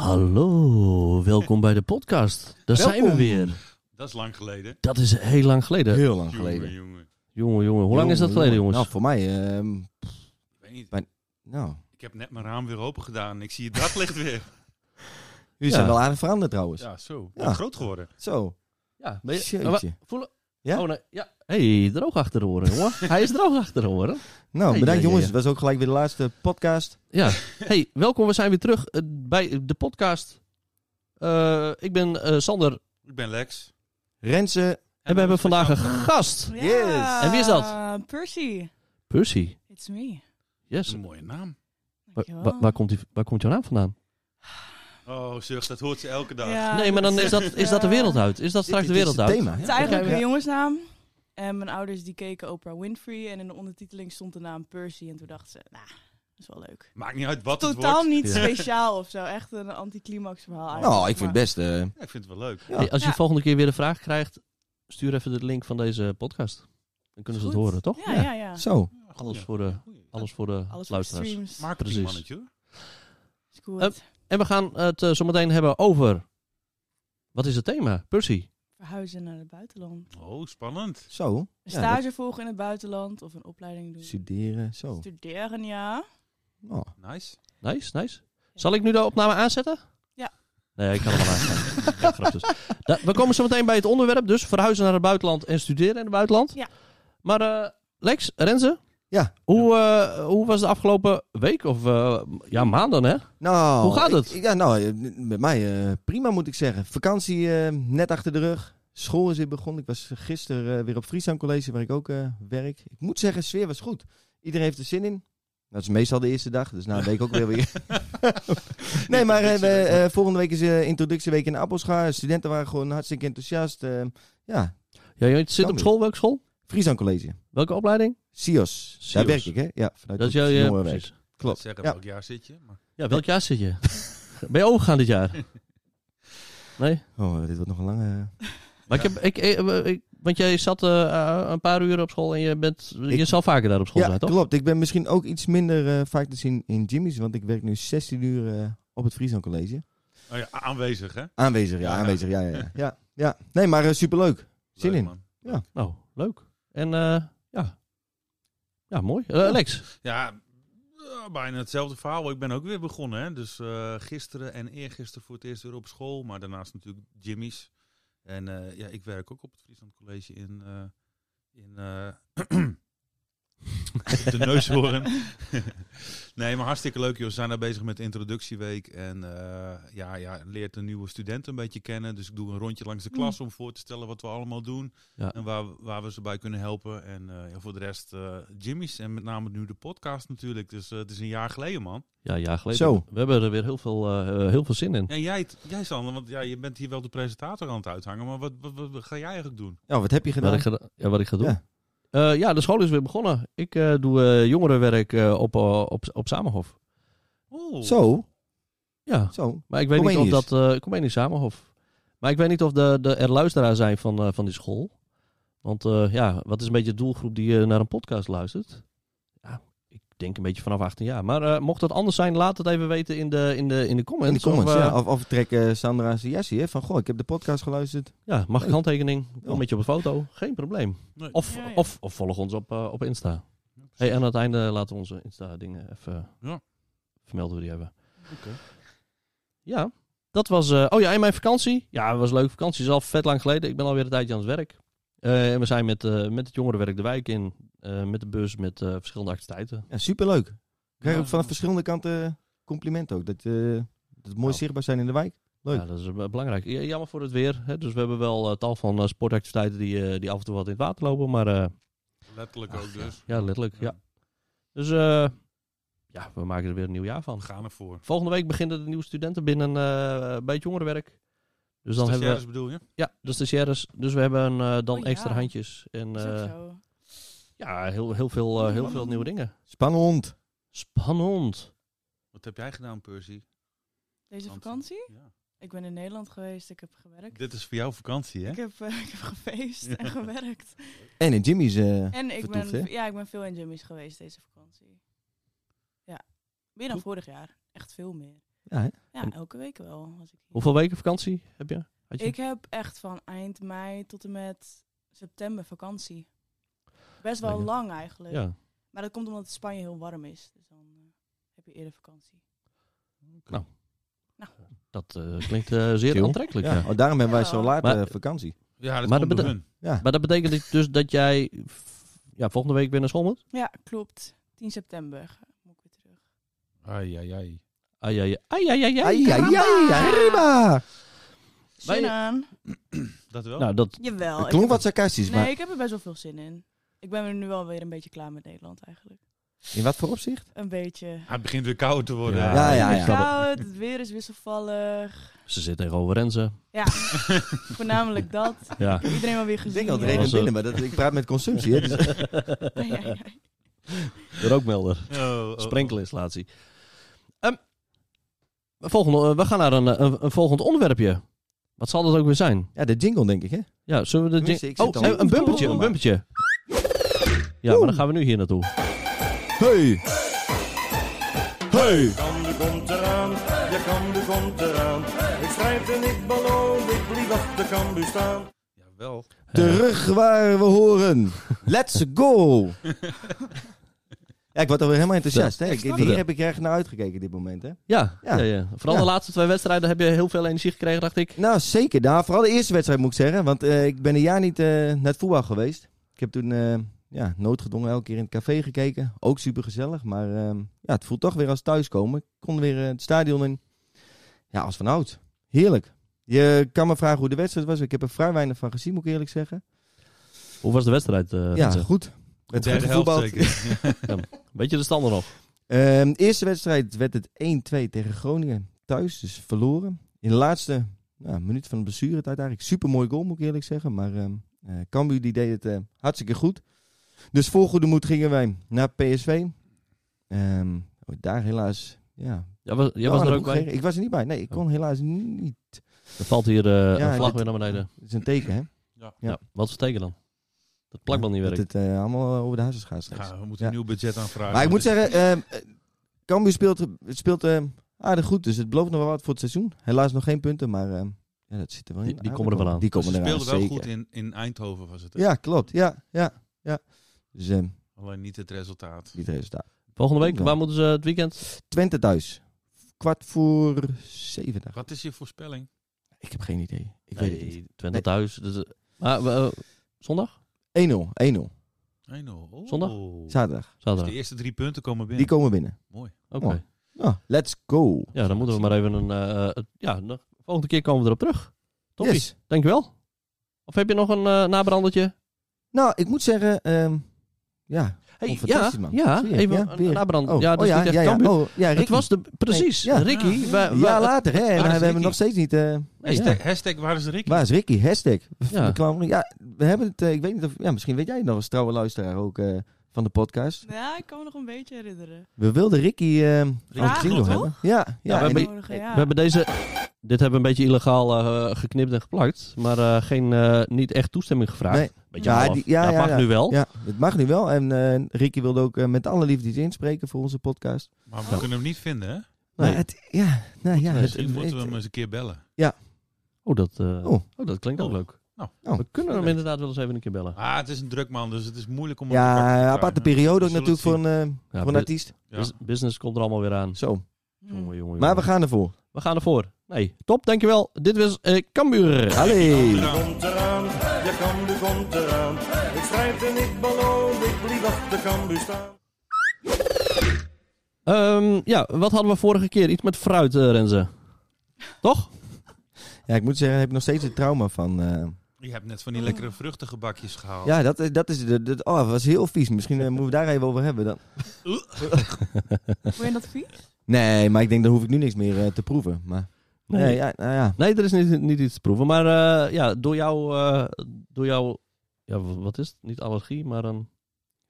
Hallo, welkom bij de podcast. Daar zijn we Welkom. weer. Dat is lang geleden. Dat is heel lang geleden. Heel lang Jongen, geleden. jongen. Jongen, jongen, hoe lang is dat Jongen, geleden, jongen. jongens? Nou, voor mij, ehm, Ik weet niet. nou. Ik heb net mijn raam weer open gedaan. Ik zie het daglicht weer. Jullie Ja. zijn wel aardig veranderd trouwens. Ja, zo. Ja. Groot geworden. Zo. Nou, Ja, ben je, Jeetje. maar wa- voelen? Ja? Oh, nee, ja. hey, droog achter de oren, jongen. Hij is droog achter de oren. Nou, Ja, bedankt ja, jongens. ja. Dat was ook gelijk weer de laatste podcast. Ja. hey, welkom. We zijn weer terug eh, bij de podcast. Eh, ik ben eh, Sander en, Ik ben Lex. Rensen. we hebben dan- vandaag een gast. Yes. En wie is dat? Ja, Percy. Percy. It's me. Yes. Een mooie naam. Wa- wa- Dankjewel. waar, komt die, waar komt jouw naam vandaan? Oh, zucht, dat hoort ze elke dag. Ja, nee, maar dan is dat, is dat de wereld uit. Is dat straks Dit- de dit is wereld het uit? thema. Het hè? is eigenlijk Ja. een jongensnaam. En mijn ouders die keken Oprah Winfrey. En in de ondertiteling stond de naam Percy. En toen dachten ze, nou, dat is wel leuk. Maakt niet uit wat het Totaal wordt. niet Ja. speciaal of zo. Echt een anticlimax verhaal eigenlijk. Nou, ik vind het Maar- best. eh, Ja, ik vind het wel leuk. Ja. Hey, als je Ja. volgende keer weer een vraag krijgt, stuur even de link van deze podcast. Dan kunnen ze het Goed. horen, toch? Ja, ja, ja. Zo. Alles Ja. voor de, Goeie. alles voor de Alles voor luisteraars. streams. Maak Precies. precies. mannetje hoor. Is goed. Hup. En we gaan het eh, zometeen hebben over. Wat is het thema? Percy. Verhuizen naar het buitenland. Oh, spannend. Zo. Een Ja, stage volgen in het buitenland. Of een opleiding dat- doen. Studeren. Oh. Zo. Studeren, ja. Nou. Nice. Nice, nice. Zal ik nu de opname aanzetten? Ja. Nee, ik kan hem al aanzetten. Ja, grap dus. Da- we komen zometeen bij het onderwerp, dus verhuizen naar het buitenland en studeren in het buitenland. Ja. Maar eh, Lex, Renze. Ja. Hoe, eh, hoe was de afgelopen week of eh, ja, maanden, hè? Nou, Hoe gaat ik- het? ik- ja, nou, eh, met mij eh, prima moet ik zeggen. Vakantie eh, net achter de rug. School is weer begonnen. Ik was gisteren eh, weer op Friesland College, waar ik ook eh, werk. Ik moet zeggen, sfeer was goed. Iedereen heeft er zin in. Dat is meestal de eerste dag, dus na een week ook weer weer. nee, maar eh, we, eh, volgende week is eh, introductieweek in Appelscha. Studenten waren gewoon hartstikke enthousiast. Eh, ja, Ja, je zit Kan op weer. school, welke school? Friesland College. Welke opleiding? SIOS. SIOS. Daar werk ik, hè? Ja, vanuit Dat is het jouw ja, jongerenwerk. precies. Ik Klopt. zeggen, Ja. welk jaar zit je? Maar Ja, welk jaar zit je? ben je overgegaan dit jaar? Nee? Oh, dit wordt nog een lange... Maar ik heb, ik, eh, ik- want jij zat eh, eh, een paar uur op school en je, bent, je Ik- zal vaker daar op school ja, zijn, toch? klopt. Ik ben misschien ook iets minder eh, vaak te zien in Jimmy's, want ik werk nu 16 uur eh, op het Friesland College. Oh ja, a- aanwezig hè? Aanwezig, ja, Ja. aanwezig, ja, ja, ja. ja, ja. Nee, maar eh, superleuk. Zin Leuk, in. man. Nou, leuk. En eh, ja. ja, mooi. Eh, Lex, Ja, eh, bijna hetzelfde verhaal. Ik ben ook weer begonnen. Hè? Dus eh, gisteren en eergisteren voor het eerst weer op school. Maar daarnaast natuurlijk Jimmy's. En eh, ja, ik werk ook op het Friesland College in... eh, in eh, op de neushoorn. nee, maar hartstikke leuk. Joh. We zijn daar bezig met de introductieweek. En eh, ja, ja, leert de nieuwe studenten een beetje kennen. Dus ik doe een rondje langs de klas om voor te stellen wat we allemaal doen. Ja. En waar, we- waar we ze bij kunnen helpen. En eh, ja, voor de rest eh, Jimmy's. En met name nu de podcast natuurlijk. Dus eh, het is een jaar geleden, man. ja, een jaar geleden. Zo. We hebben er weer heel veel, eh, heel veel zin in. En jij, t- jij Sander, want ja, je bent hier wel de presentator aan het uithangen. Maar wat, wat, wat, wat ga jij eigenlijk doen? Ja, wat heb je Wat gedaan? ik ga, ja, wat ik ga doen. Ja. Eh, ja, de school is weer begonnen. Ik eh, doe eh, jongerenwerk eh, op, eh, op, op Samenhof. Oh, Zo, Ja, zo. Maar ik weet niet of Comenius. dat... eh Comenius Samenhof. Maar ik weet niet of de, de, er luisteraars zijn van, eh, van die school. Want eh, ja, wat is een beetje de doelgroep die eh, naar een podcast luistert? Ja, ik denk een beetje vanaf 18 jaar. Maar eh, mocht dat anders zijn, laat het even weten in de, in de, in de comments. In de comments, of, eh, ja. Of, of trek eh, Sandra zijn jasje, hè, van goh, ik heb de podcast geluisterd. ja, mag ik handtekening? Ja. Wel met je op een foto? Geen probleem. Nee. Of, Ja, ja. of, of volg ons op, eh, op Insta. Hey, aan het einde laten we onze Insta-dingen even... Ja. Vermelden we die even. Oké. Ja, dat was... eh, oh ja, en mijn vakantie. Ja, het was een leuke vakantie. Het is al vet lang geleden. Ik ben alweer een tijdje aan het werk. Eh, en we zijn met, eh, met het jongerenwerk de wijk in. eh, met de bus, met eh, verschillende activiteiten. Ja, superleuk. Ik krijg Ja, ook vanaf dat- verschillende kanten complimenten ook. Dat, eh, dat het mooi Nou. zichtbaar zijn in de wijk. Leuk. Ja, dat is eh, belangrijk. Ja, Jammer voor het weer. Hè? Dus we hebben wel eh, tal van eh, sportactiviteiten die, eh, die af en toe wat in het water lopen. Maar eh, Letterlijk Ach, ook dus. ja, letterlijk. Ja. Dus eh, ja, we maken er weer een nieuw jaar van. We gaan ervoor. Volgende week beginnen de nieuwe studenten binnen eh, bij het jongerenwerk. Dus dan hebben we... Stagiaires bedoel je? Ja, de stagiaires. Dus we hebben eh, dan Oh, ja. extra handjes. En Is ook eh, zo. ja, heel, heel, veel, eh, heel veel nieuwe dingen. Spannend. Spannend. Wat heb jij gedaan, Percy? Deze Want- vakantie? Ja. Ik ben in Nederland geweest. Ik heb gewerkt. Dit is voor jou vakantie, hè? Ik heb, eh, ik heb gefeest en Ja. gewerkt. En in Jimmy's. eh, En ik Vertoefd, hè? ben, ja, ik ben veel in Jimmy's geweest deze vakantie. Ja. Meer dan vorig jaar. Echt veel meer. Ja, hè? Ja, En- elke week wel. Als ik, hier- Hoeveel weken vakantie heb je? Had je? ik heb echt van eind mei tot en met september vakantie. Best wel Lekker. lang eigenlijk. ja. Maar dat komt omdat het Spanje heel warm is. Dus dan eh, heb je eerder vakantie. Dat eh, klinkt eh, zeer Chill. aantrekkelijk. Ja. ja. Oh, daarom hebben wij zo Ja. laat Maar- eh, vakantie. Ja, dat Maar maar komt dat door hun. Ja. Maar dat betekent dus- dus dat jij f- ja, volgende week weer naar school moet? Ja, klopt. 10 september eh, moet ik weer terug. Ai, ai, ai. Ai, ai, ai, ai, ai, ai. Ai, ai, ai, arriba! Maar je- Zin aan. Dat wel? Nou, dat, Jawel. Het ik klonk heb wat er- sarcastisch, maar Nee, ik heb er best wel veel zin in. Ik ben er nu wel weer een beetje klaar met Nederland eigenlijk. in wat voor opzicht? Een beetje. Ah, het begint weer koud te worden. Ja, Ja, ja, Het ja. is koud, het weer is wisselvallig. ze zit tegenover Renze. Ja, nou. voornamelijk dat. Ja. Iedereen wel weer gezien. Ik denk dat het ja. regent regent Was, eh, binnen, binnen, maar ik praat met consumptie. Dus- Ja, ja, ja. De rookmelder. Oh, oh, oh. Sprenkelinstallatie. Ehm, volgende, eh, we gaan naar een, eh, een, een volgend onderwerpje. Wat zal dat ook weer zijn? Ja, de jingle denk ik, hè? Ja, zullen we de... Tenminste, jing- ik zit oh, al- eh, een bumpertje, een bumpertje. Ja, maar dan gaan we nu hier naartoe. Hey! Hey! Kande komt eraan, je kande komt eraan. Ik strijd en ik beloon, ik blijf op de kambu staan. Ja, wel. Eh, Terug waar we horen. Let's go! Ja, ik word alweer helemaal enthousiast. Hè? Ik, snap hier het. heb ik erg naar uitgekeken dit moment. Hè? Ja, ja. Ja. ja, vooral Ja. de laatste twee wedstrijden heb je heel veel energie gekregen, dacht ik. Nou, zeker. Nou, vooral de eerste wedstrijd moet ik zeggen. Want eh, ik ben een jaar niet eh, naar het voetbal geweest. Ik heb toen eh, ja, noodgedwongen elke keer in het café gekeken. Ook super gezellig. Maar ehm, ja, het voelt toch weer als thuiskomen. Ik kon weer eh, het stadion in. Ja, als van oud. Heerlijk. Je kan me vragen hoe de wedstrijd was. Ik heb er vrij weinig van gezien, moet ik eerlijk zeggen. Hoe was de wedstrijd? eh ja, Renze? goed. Het Derde werd helft gevoetbald. zeker. Weet je de standen nog? Ehm, eerste wedstrijd werd het 1-2 tegen Groningen thuis, dus verloren. In de laatste nou, minuut van de blessuretijd eigenlijk. Supermooi goal, moet ik eerlijk zeggen. Maar ehm eh, Cambuur die deed het eh, hartstikke goed. Dus vol goede moed gingen wij naar PSV. Ehm, oh, daar helaas... Ja, Ja, was, jij wel was aan er de ook bij. Oh. boeg gereden. Ik was er niet bij. Nee, ik kon helaas niet. Er valt hier eh, Ja, een vlag dit- weer naar beneden. Dat is een teken, hè? Ja. Ja. Wat voor teken dan? Dat plakband niet Dat werkt. het eh, allemaal over de hazes gaat straks. Ja, we moeten Ja. een nieuw budget aanvragen. Maar ik moet Dus- zeggen, ehm, eh Cambuur speelt, speelt ehm, aardig goed. Dus het belooft nog wel wat voor het seizoen. Helaas nog geen punten, maar ehm, ja, dat zit er wel in. Die- die komen er wel aan. Die Ze komen er speelden aan, wel zeker. goed in, in Eindhoven, was het. hè? Ja, klopt. Ja, ja, ja. Dus ehm Alleen niet het resultaat. niet het resultaat. Volgende week, Ja. waar moeten ze het weekend? Twente thuis. Kwart voor zeven. dagen. Wat is je voorspelling? Ik heb geen idee. Ik weet het niet. Nee, Twente Nee. thuis. Dus, eh, maar, we, eh, zondag? 1-0, 1-0. 1-0. Oh. Zondag? Zaterdag. Dus de Zaterdag. eerste drie punten komen binnen. Die komen binnen. Mooi. Oké. Oh. Nou, let's go. Ja, dan moeten we maar even een... eh, eh, ja, nog- volgende keer komen we erop terug. Toppie. Yes. Dankjewel. Of heb je nog een eh nabrandertje? Nou, ik moet zeggen, ehm, ja. Hey, Oh, ja, fantastisch, man. ja, Zie je? even Ja, een weer. nabrand. Oh, ja, oh, dus ja, niet echt ja, ja. Cambuur. Oh, ja, Het Ricky. was de, precies, Nee, ja. Ricky. Ja. wij- Een wij- jaar later, hè? En is we hebben hem Ricky? nog steeds niet. eh, Nee, ja. hashtag, hashtag waar is Rick? Waar is Ricky? Hashtag. Ja. Ja. ja, we hebben het. eh, ik weet niet of. Ja, misschien weet jij het nog als trouwe luisteraar ook eh, van de podcast. Ja, ik kan me nog een beetje herinneren. We wilden Ricky. eh als Ja, jingle klopt, Nou, hebben. Ja, ja, we en hebben- ik- Nodigen, ja. We hebben deze. Dit hebben we een beetje illegaal eh, geknipt en geplakt. Maar eh, geen, eh, niet echt toestemming gevraagd. Nee. Beetje Ja, half. die- ja, dat ja, mag ja. nu wel. ja, het mag nu wel. En eh, Ricky wilde ook eh, met alle liefde iets inspreken voor onze podcast. Maar we kunnen hem niet vinden, hè? Maar Nee. het, ja, nou ja. Het, Misschien moeten we het- hem eens een keer bellen. Oh, dat, eh, Oh. oh. dat klinkt ook Oh. leuk. Nou. Oh. We kunnen hem inderdaad wel eens even een keer bellen. Ah, het is een druk man, dus het is moeilijk om... hem te pakken te ja, krijgen. aparte periode ook We zullen natuurlijk voor het een, eh, Ja, voor een bu- artiest. Ja. bus- Business komt er allemaal weer aan. Zo. Hm. Jongen, jongen, Maar we jongen. gaan ervoor. we gaan ervoor. Nee, top, dankjewel. Dit was eh Kambuur. Allee. Je komt eraan, je kambu komt eraan. Ik strijd en ik beloon, ik blijf op de kambu staan. Ehm, ja, wat hadden we vorige keer? Iets met fruit, eh, Renze. Toch? Ja, ik moet zeggen, daar heb ik nog steeds het trauma van. eh, Je hebt net van die lekkere vruchtengebakjes gehaald. Oh. Ja, dat, is- dat is de, dat- oh, dat was heel vies. Misschien eh, moeten we daar even over hebben. Dan. Vond je dat vies? Nee, maar ik denk, dan hoef ik nu niks meer eh, te proeven. Maar, nee. ja, nou ja. Nee, er is niet, niet iets te proeven. Maar eh, ja, door jou, eh, door jou, ja, w- wat is het? Niet allergie, maar een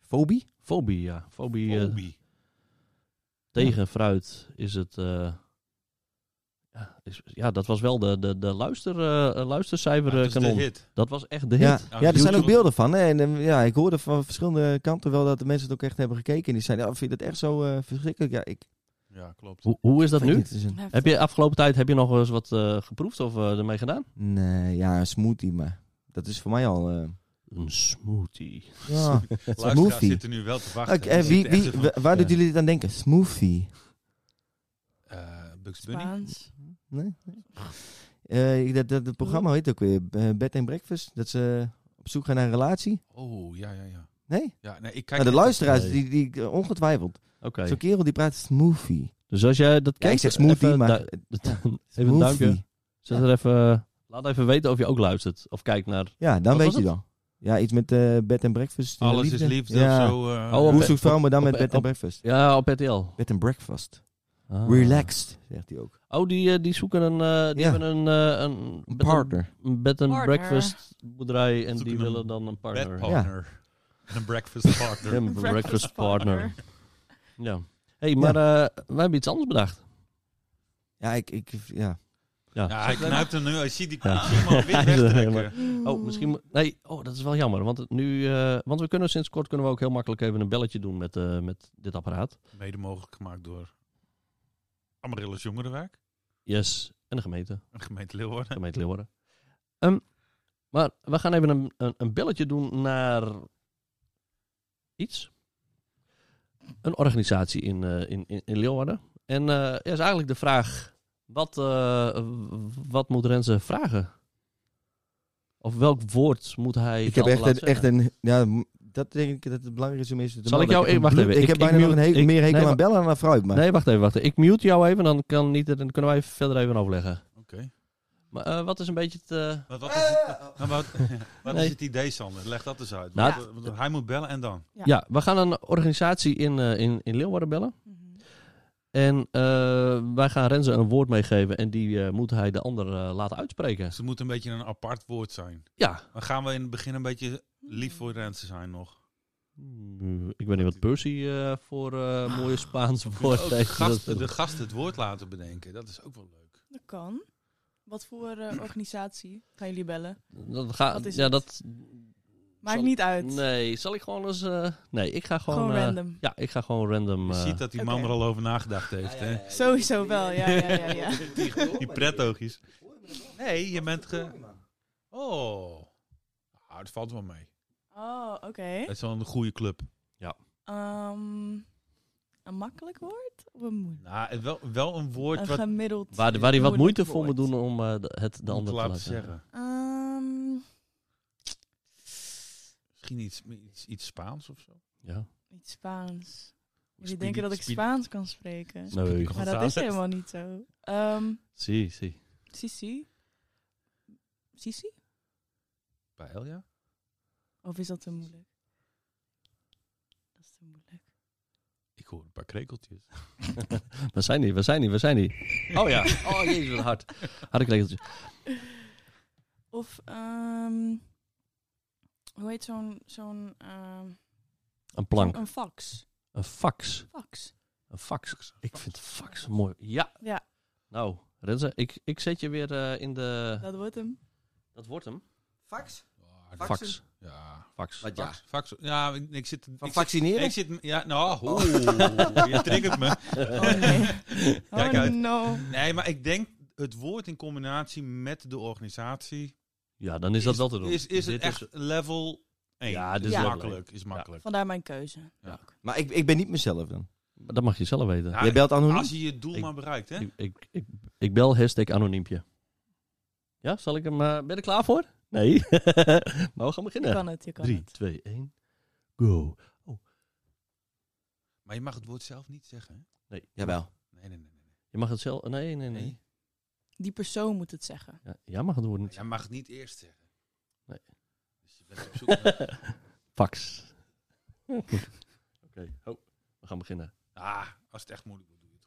Fobie? fobie, ja. Fobie, eh, Obi. Nou, tegen fruit is het... eh, ja, is, ja, dat was wel de, de, de luister, eh, luistercijfer Dat eh, is de kanon. hit. Dat was echt de hit. Ja, Ja, ja, er zijn ook YouTube. beelden van. Hè? En eh, ja, ik oh, hoorde van verschillende kanten wel dat de mensen het ook echt hebben gekeken. En die zeiden, ja, vind je dat echt zo eh, verschrikkelijk? Ja, ik, Ja, klopt. Hoe, hoe is dat nu? Het is Nou, een- Heb je afgelopen tijd heb je nog eens wat eh, geproefd of eh, ermee gedaan? Nee, ja, een smoothie, maar dat is voor mij al... eh, Een smoothie. ja. Luisteraars smoothie. zitten nu wel te wachten. Oké, eh, Die wie, zitten echt wie, zo van, wa- waar doet ja. jullie dit aan denken? Smoothie? eh, Bugs Bunny? Spaans. Nee? Eh, ik- dat, dat, dat programma heet ook weer eh, Bed and Breakfast. Dat ze eh, op zoek gaan naar een relatie. Oh, ja, ja, ja. Nee? ja nee, ik kijk Nou, de echt- luisteraars, Nee. die, die, eh, ongetwijfeld. Oké. Zo'n kerel die praat smoothie. Dus als jij dat kijkt... Ja, ik zeg smoothie, even maar... du- even een smoothie. duimpje. Zet er even... Laat even weten of je ook luistert of kijkt naar... Ja, dan Wat weet was je dan. Ja, iets met eh, Bed and Breakfast. in de Alles is liefde Ja. of zo. eh, Oh, Hoe Op- zoekt vrouw, maar dan op- met Bed op- and Breakfast. Ja, op RTL. Bed and Breakfast. Ah. Relaxed, zegt hij ook. Oh, die, eh, die zoeken een... eh, die Ja. hebben een... eh, een Een bed and- partner. Een bed and Partner. breakfast boerderij en Zoeken die een willen dan een partner. Bed partner. En een breakfast partner. Ja, een breakfast partner. Ja. hey, maar eh, wij hebben iets anders bedacht. Ja, ik... ik ja. Ja. Ja, hij knijpt hem nu. Hij ziet die Ja. koetsie man wit Hij is wegtrekken. helemaal- Oh, misschien... mo- Nee, oh, dat is wel jammer. Want, het nu, eh, want we kunnen sinds kort kunnen we ook heel makkelijk even een belletje doen met, eh, met dit apparaat. Mede mogelijk gemaakt door Amaryllis Jongerenwerk. Yes. En de gemeente. Een gemeente Leeuwarden. gemeente Leeuwarden. Ehm, maar we gaan even een, een, een belletje doen naar iets. Een organisatie in, eh, in, in, in Leeuwarden. En eh, ja, is eigenlijk de vraag, wat, eh, w- wat moet Renze vragen? Of welk woord moet hij Ik heb Sander echt een, laten echt zeggen? een... Ja, m- dat denk ik dat het belangrijk is om eerst te Zal ik melden. jou- heb eh, wacht een even, bloed- Ik, ik- heb ik bijna nog mute- een he- ik- meer hekel nee, aan bellen dan aan fruit, maar... Nee, wacht even, wacht even. Ik mute jou even, dan, kan niet, dan kunnen wij even verder even overleggen. Oké. Maar eh, wat is een beetje het... eh, Wat, wat, is, het, nou, wat, wat Nee. is het idee, Sander? Leg dat eens uit. Nou, Want, eh, want hij moet bellen en dan. ja. we gaan een organisatie in, eh, in, in Leeuwarden bellen. Mhm. En eh, wij gaan Renze een woord meegeven en die eh, moet hij de ander eh, laten uitspreken. Dus het moet een beetje een apart woord zijn. Ja. Maar gaan we in het begin een beetje lief voor Rensen zijn nog? Hmm, Ik weet niet wat Percy eh, voor eh, mooie Spaans woord Ah, Ook de, heeft. gast, Dat- de gast het woord laten bedenken. Dat is ook wel leuk. Dat kan. Wat voor eh, organisatie gaan jullie bellen? dat gaat- Wat is ja, het? dat, Maakt Zal- niet uit. nee, zal ik gewoon eens... eh, nee, ik ga gewoon... Gewoon eh, random. Ja, ik ga gewoon random... Je eh, ziet dat die man Oké. er al over nagedacht heeft. hè? Eh, Sowieso wel, ja, ja, ja. ja. Die pretoogjes. Nee, je bent ge... Oh. Ah, dat valt wel mee. Oh, oké. Het is wel een goede club. Ehm, een makkelijk woord of een moeilijk? Nou, wel, wel een woord Een wat gemiddeld. waar waar hij wat moeite voor moet moeilijk doen om eh, de- het de om te ander te laten laten zeggen. woord. Ehm, Misschien iets, iets, iets Spaans of zo. Ja. iets Spaans. Jullie Speedy- denken dat ik speedy- Spaans kan spreken. Nee, Maar dat is helemaal niet zo. Ehm zie, zie. Sisi? Sisi? Bij Elja? Of is dat te moeilijk? Dat is te moeilijk. Ik hoor een paar krekeltjes. We zijn hier, we zijn hier, we zijn hier. Oh ja. Oh jezus, wat hard. Harde krekeltjes. Of, ehm hoe heet zo'n, zo'n, ehm, Een plank. een fax. Een fax. Fax. Een fax. Ik vind fax mooi. Ja. Ja. Nou, Renze, ik, ik zet je weer eh, in de... Dat wordt hem. Dat wordt hem. Fax? Fax. Ah, Ja. Fax. Wat ja? Fax, fax, ja, ik, ik zit... Van ik zit- vaccineren? Ik zit... Ja, nou, Oh. oeh, je triggert me. Eh. Oh nee. Kijk oh uit. no. Nee, maar ik denk het woord in combinatie met de organisatie... Ja, dan is dat wel te doen. Is, is het Dit echt level 1? Ja, dit is is level makkelijk. Is makkelijk. Vandaar mijn keuze. Ja. Maar ik, ik ben niet mezelf dan. Dat mag je zelf weten. Ja, Jij belt anoniem? Als je je doel Ik- maar bereikt, hè? Ik, ik, ik, ik bel hashtag anoniempje. Ja, zal ik hem... eh, ben je er klaar voor? Nee. maar we gaan Je beginnen. kan het, je kan 3, het. 2, 1. Go. Maar je mag het woord zelf niet zeggen, hè? Nee. Jawel. Nee, nee, nee. nee. Je mag het zelf... Nee, nee, nee. Nee. Die persoon moet het zeggen. Ja, jij mag het woord niet. Jij mag het niet eerst zeggen. Nee. Dus je bent op zoek naar... Fax. Oké, ho. we gaan beginnen. Ah, als het echt moeilijk wordt, doe je het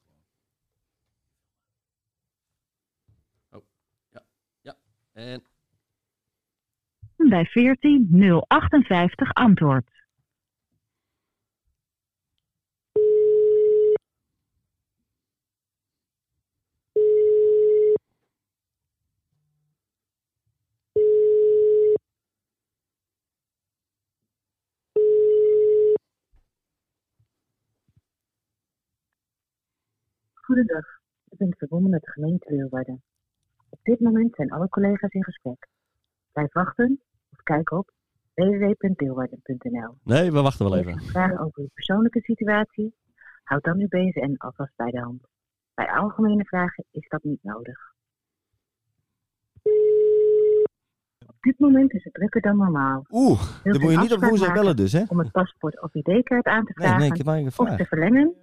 gewoon. En bij 14058 antwoord. Goedendag, ik ben verbonden met de gemeente Leeuwarden. Op dit moment zijn alle collega's in gesprek. Blijf wachten of kijk op www.leeuwarden.nl. Nee, we wachten wel Heeft even. u vragen over uw persoonlijke situatie? Houd dan uw BSN alvast bij de hand. Bij algemene vragen is dat niet nodig. Op dit moment is het drukker dan normaal. Oeh, Wilt dan u moet je een niet op afspraak woensdag maken bellen dus, hè? Om het paspoort of ID-kaart aan te Nee, vragen nee, ik heb maar een of te vraag. verlengen?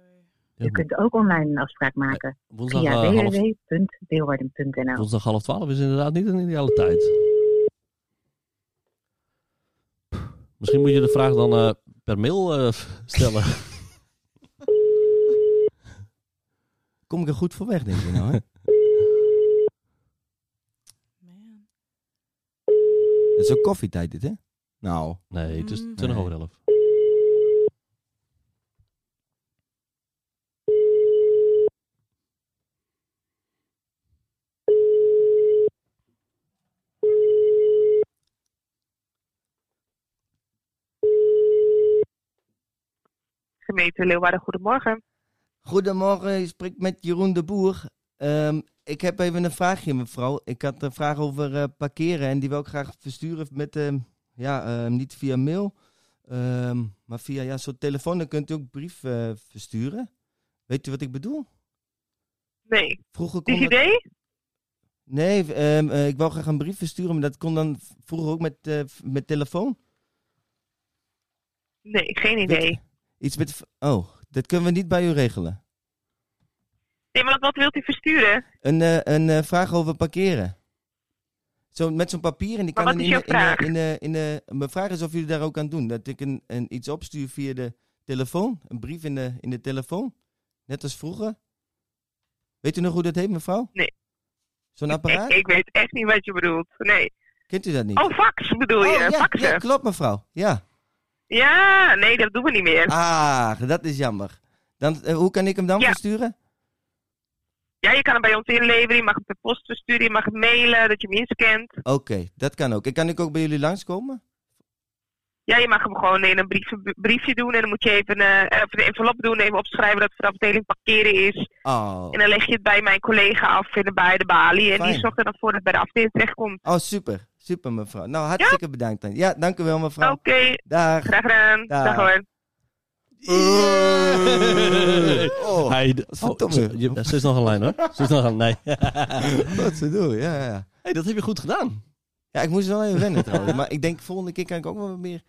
Ja, U kunt ook online een afspraak maken Woensdag, via eh, half, www.deelwaarden.nl. woensdag half twaalf is inderdaad niet een ideale tijd. Misschien moet je de vraag dan eh, per mail eh, stellen. Kom ik er goed voor weg, denk je nou, hè? Man. Het is ook koffietijd dit, hè? Nou, Nee, het is Mm. 20 over Nee. 11. Gemeente Leeuwarden, goedemorgen. Goedemorgen, je spreekt met Jeroen de Boer. Ehm, ik heb even een vraagje, mevrouw. Ik had een vraag over eh, parkeren en die wil ik graag versturen met, ehm, ja, ehm, niet via mail, ehm, maar via ja, zo'n telefoon. Dan kunt u ook brief eh, versturen. Weet u wat ik bedoel? Nee, Vroeger kon dit dat- idee? Nee, ehm, eh, ik wou graag een brief versturen, maar dat kon dan v- vroeger ook met, eh, f- met telefoon. Nee, geen idee. Iets met... v- Oh, dat kunnen we niet bij u regelen. Nee, maar wat wilt u versturen? Een, eh, een eh, vraag over parkeren. Zo, met zo'n papier en die kan Maar wat dan in, is de- jouw in, de- in, de- in de- Mijn vraag is of jullie daar ook aan doen. Dat ik een, een, iets opstuur via de telefoon. Een brief in de, in de telefoon. Net als vroeger. Weet u nog hoe dat heet, mevrouw? Nee. Zo'n Ik, apparaat? ik weet echt niet wat je bedoelt. Nee. Kent u dat niet? Oh, fax bedoel je? Oh, ja, Faxen? ja, Ja, klopt mevrouw. Ja. nee, dat doen we niet meer. Ah, dat is jammer. Dan, eh, hoe kan ik hem dan Ja. versturen? Ja, je kan hem bij ons inleveren, je mag hem per post versturen, je mag het mailen, dat je hem inscant. Oké, dat kan ook. En kan ik ook bij jullie langskomen? Ja, je mag hem gewoon in een brief, briefje doen en dan moet je even eh, eh, of een envelop doen, even opschrijven dat het voor de afdeling parkeren is. Oh, En dan leg je het bij mijn collega af in de, bij de balie en Fijn. die zorgt er dan voor dat het bij de afdeling terechtkomt. oh super. Super mevrouw. Nou, hartstikke bedankt dan. Ja, dank u wel mevrouw. Oké, Dag. graag gedaan. Dag. Dag hoor. Oh, Hij, verdomme. ze, je- ze is nog een lijn hoor. Ze is nog een lijn. wat ze doen, ja, ja, ja. hey, dat heb je goed gedaan. Ja, ik moest wel even wennen trouwens. Maar ik denk volgende keer kan ik ook wel wat meer...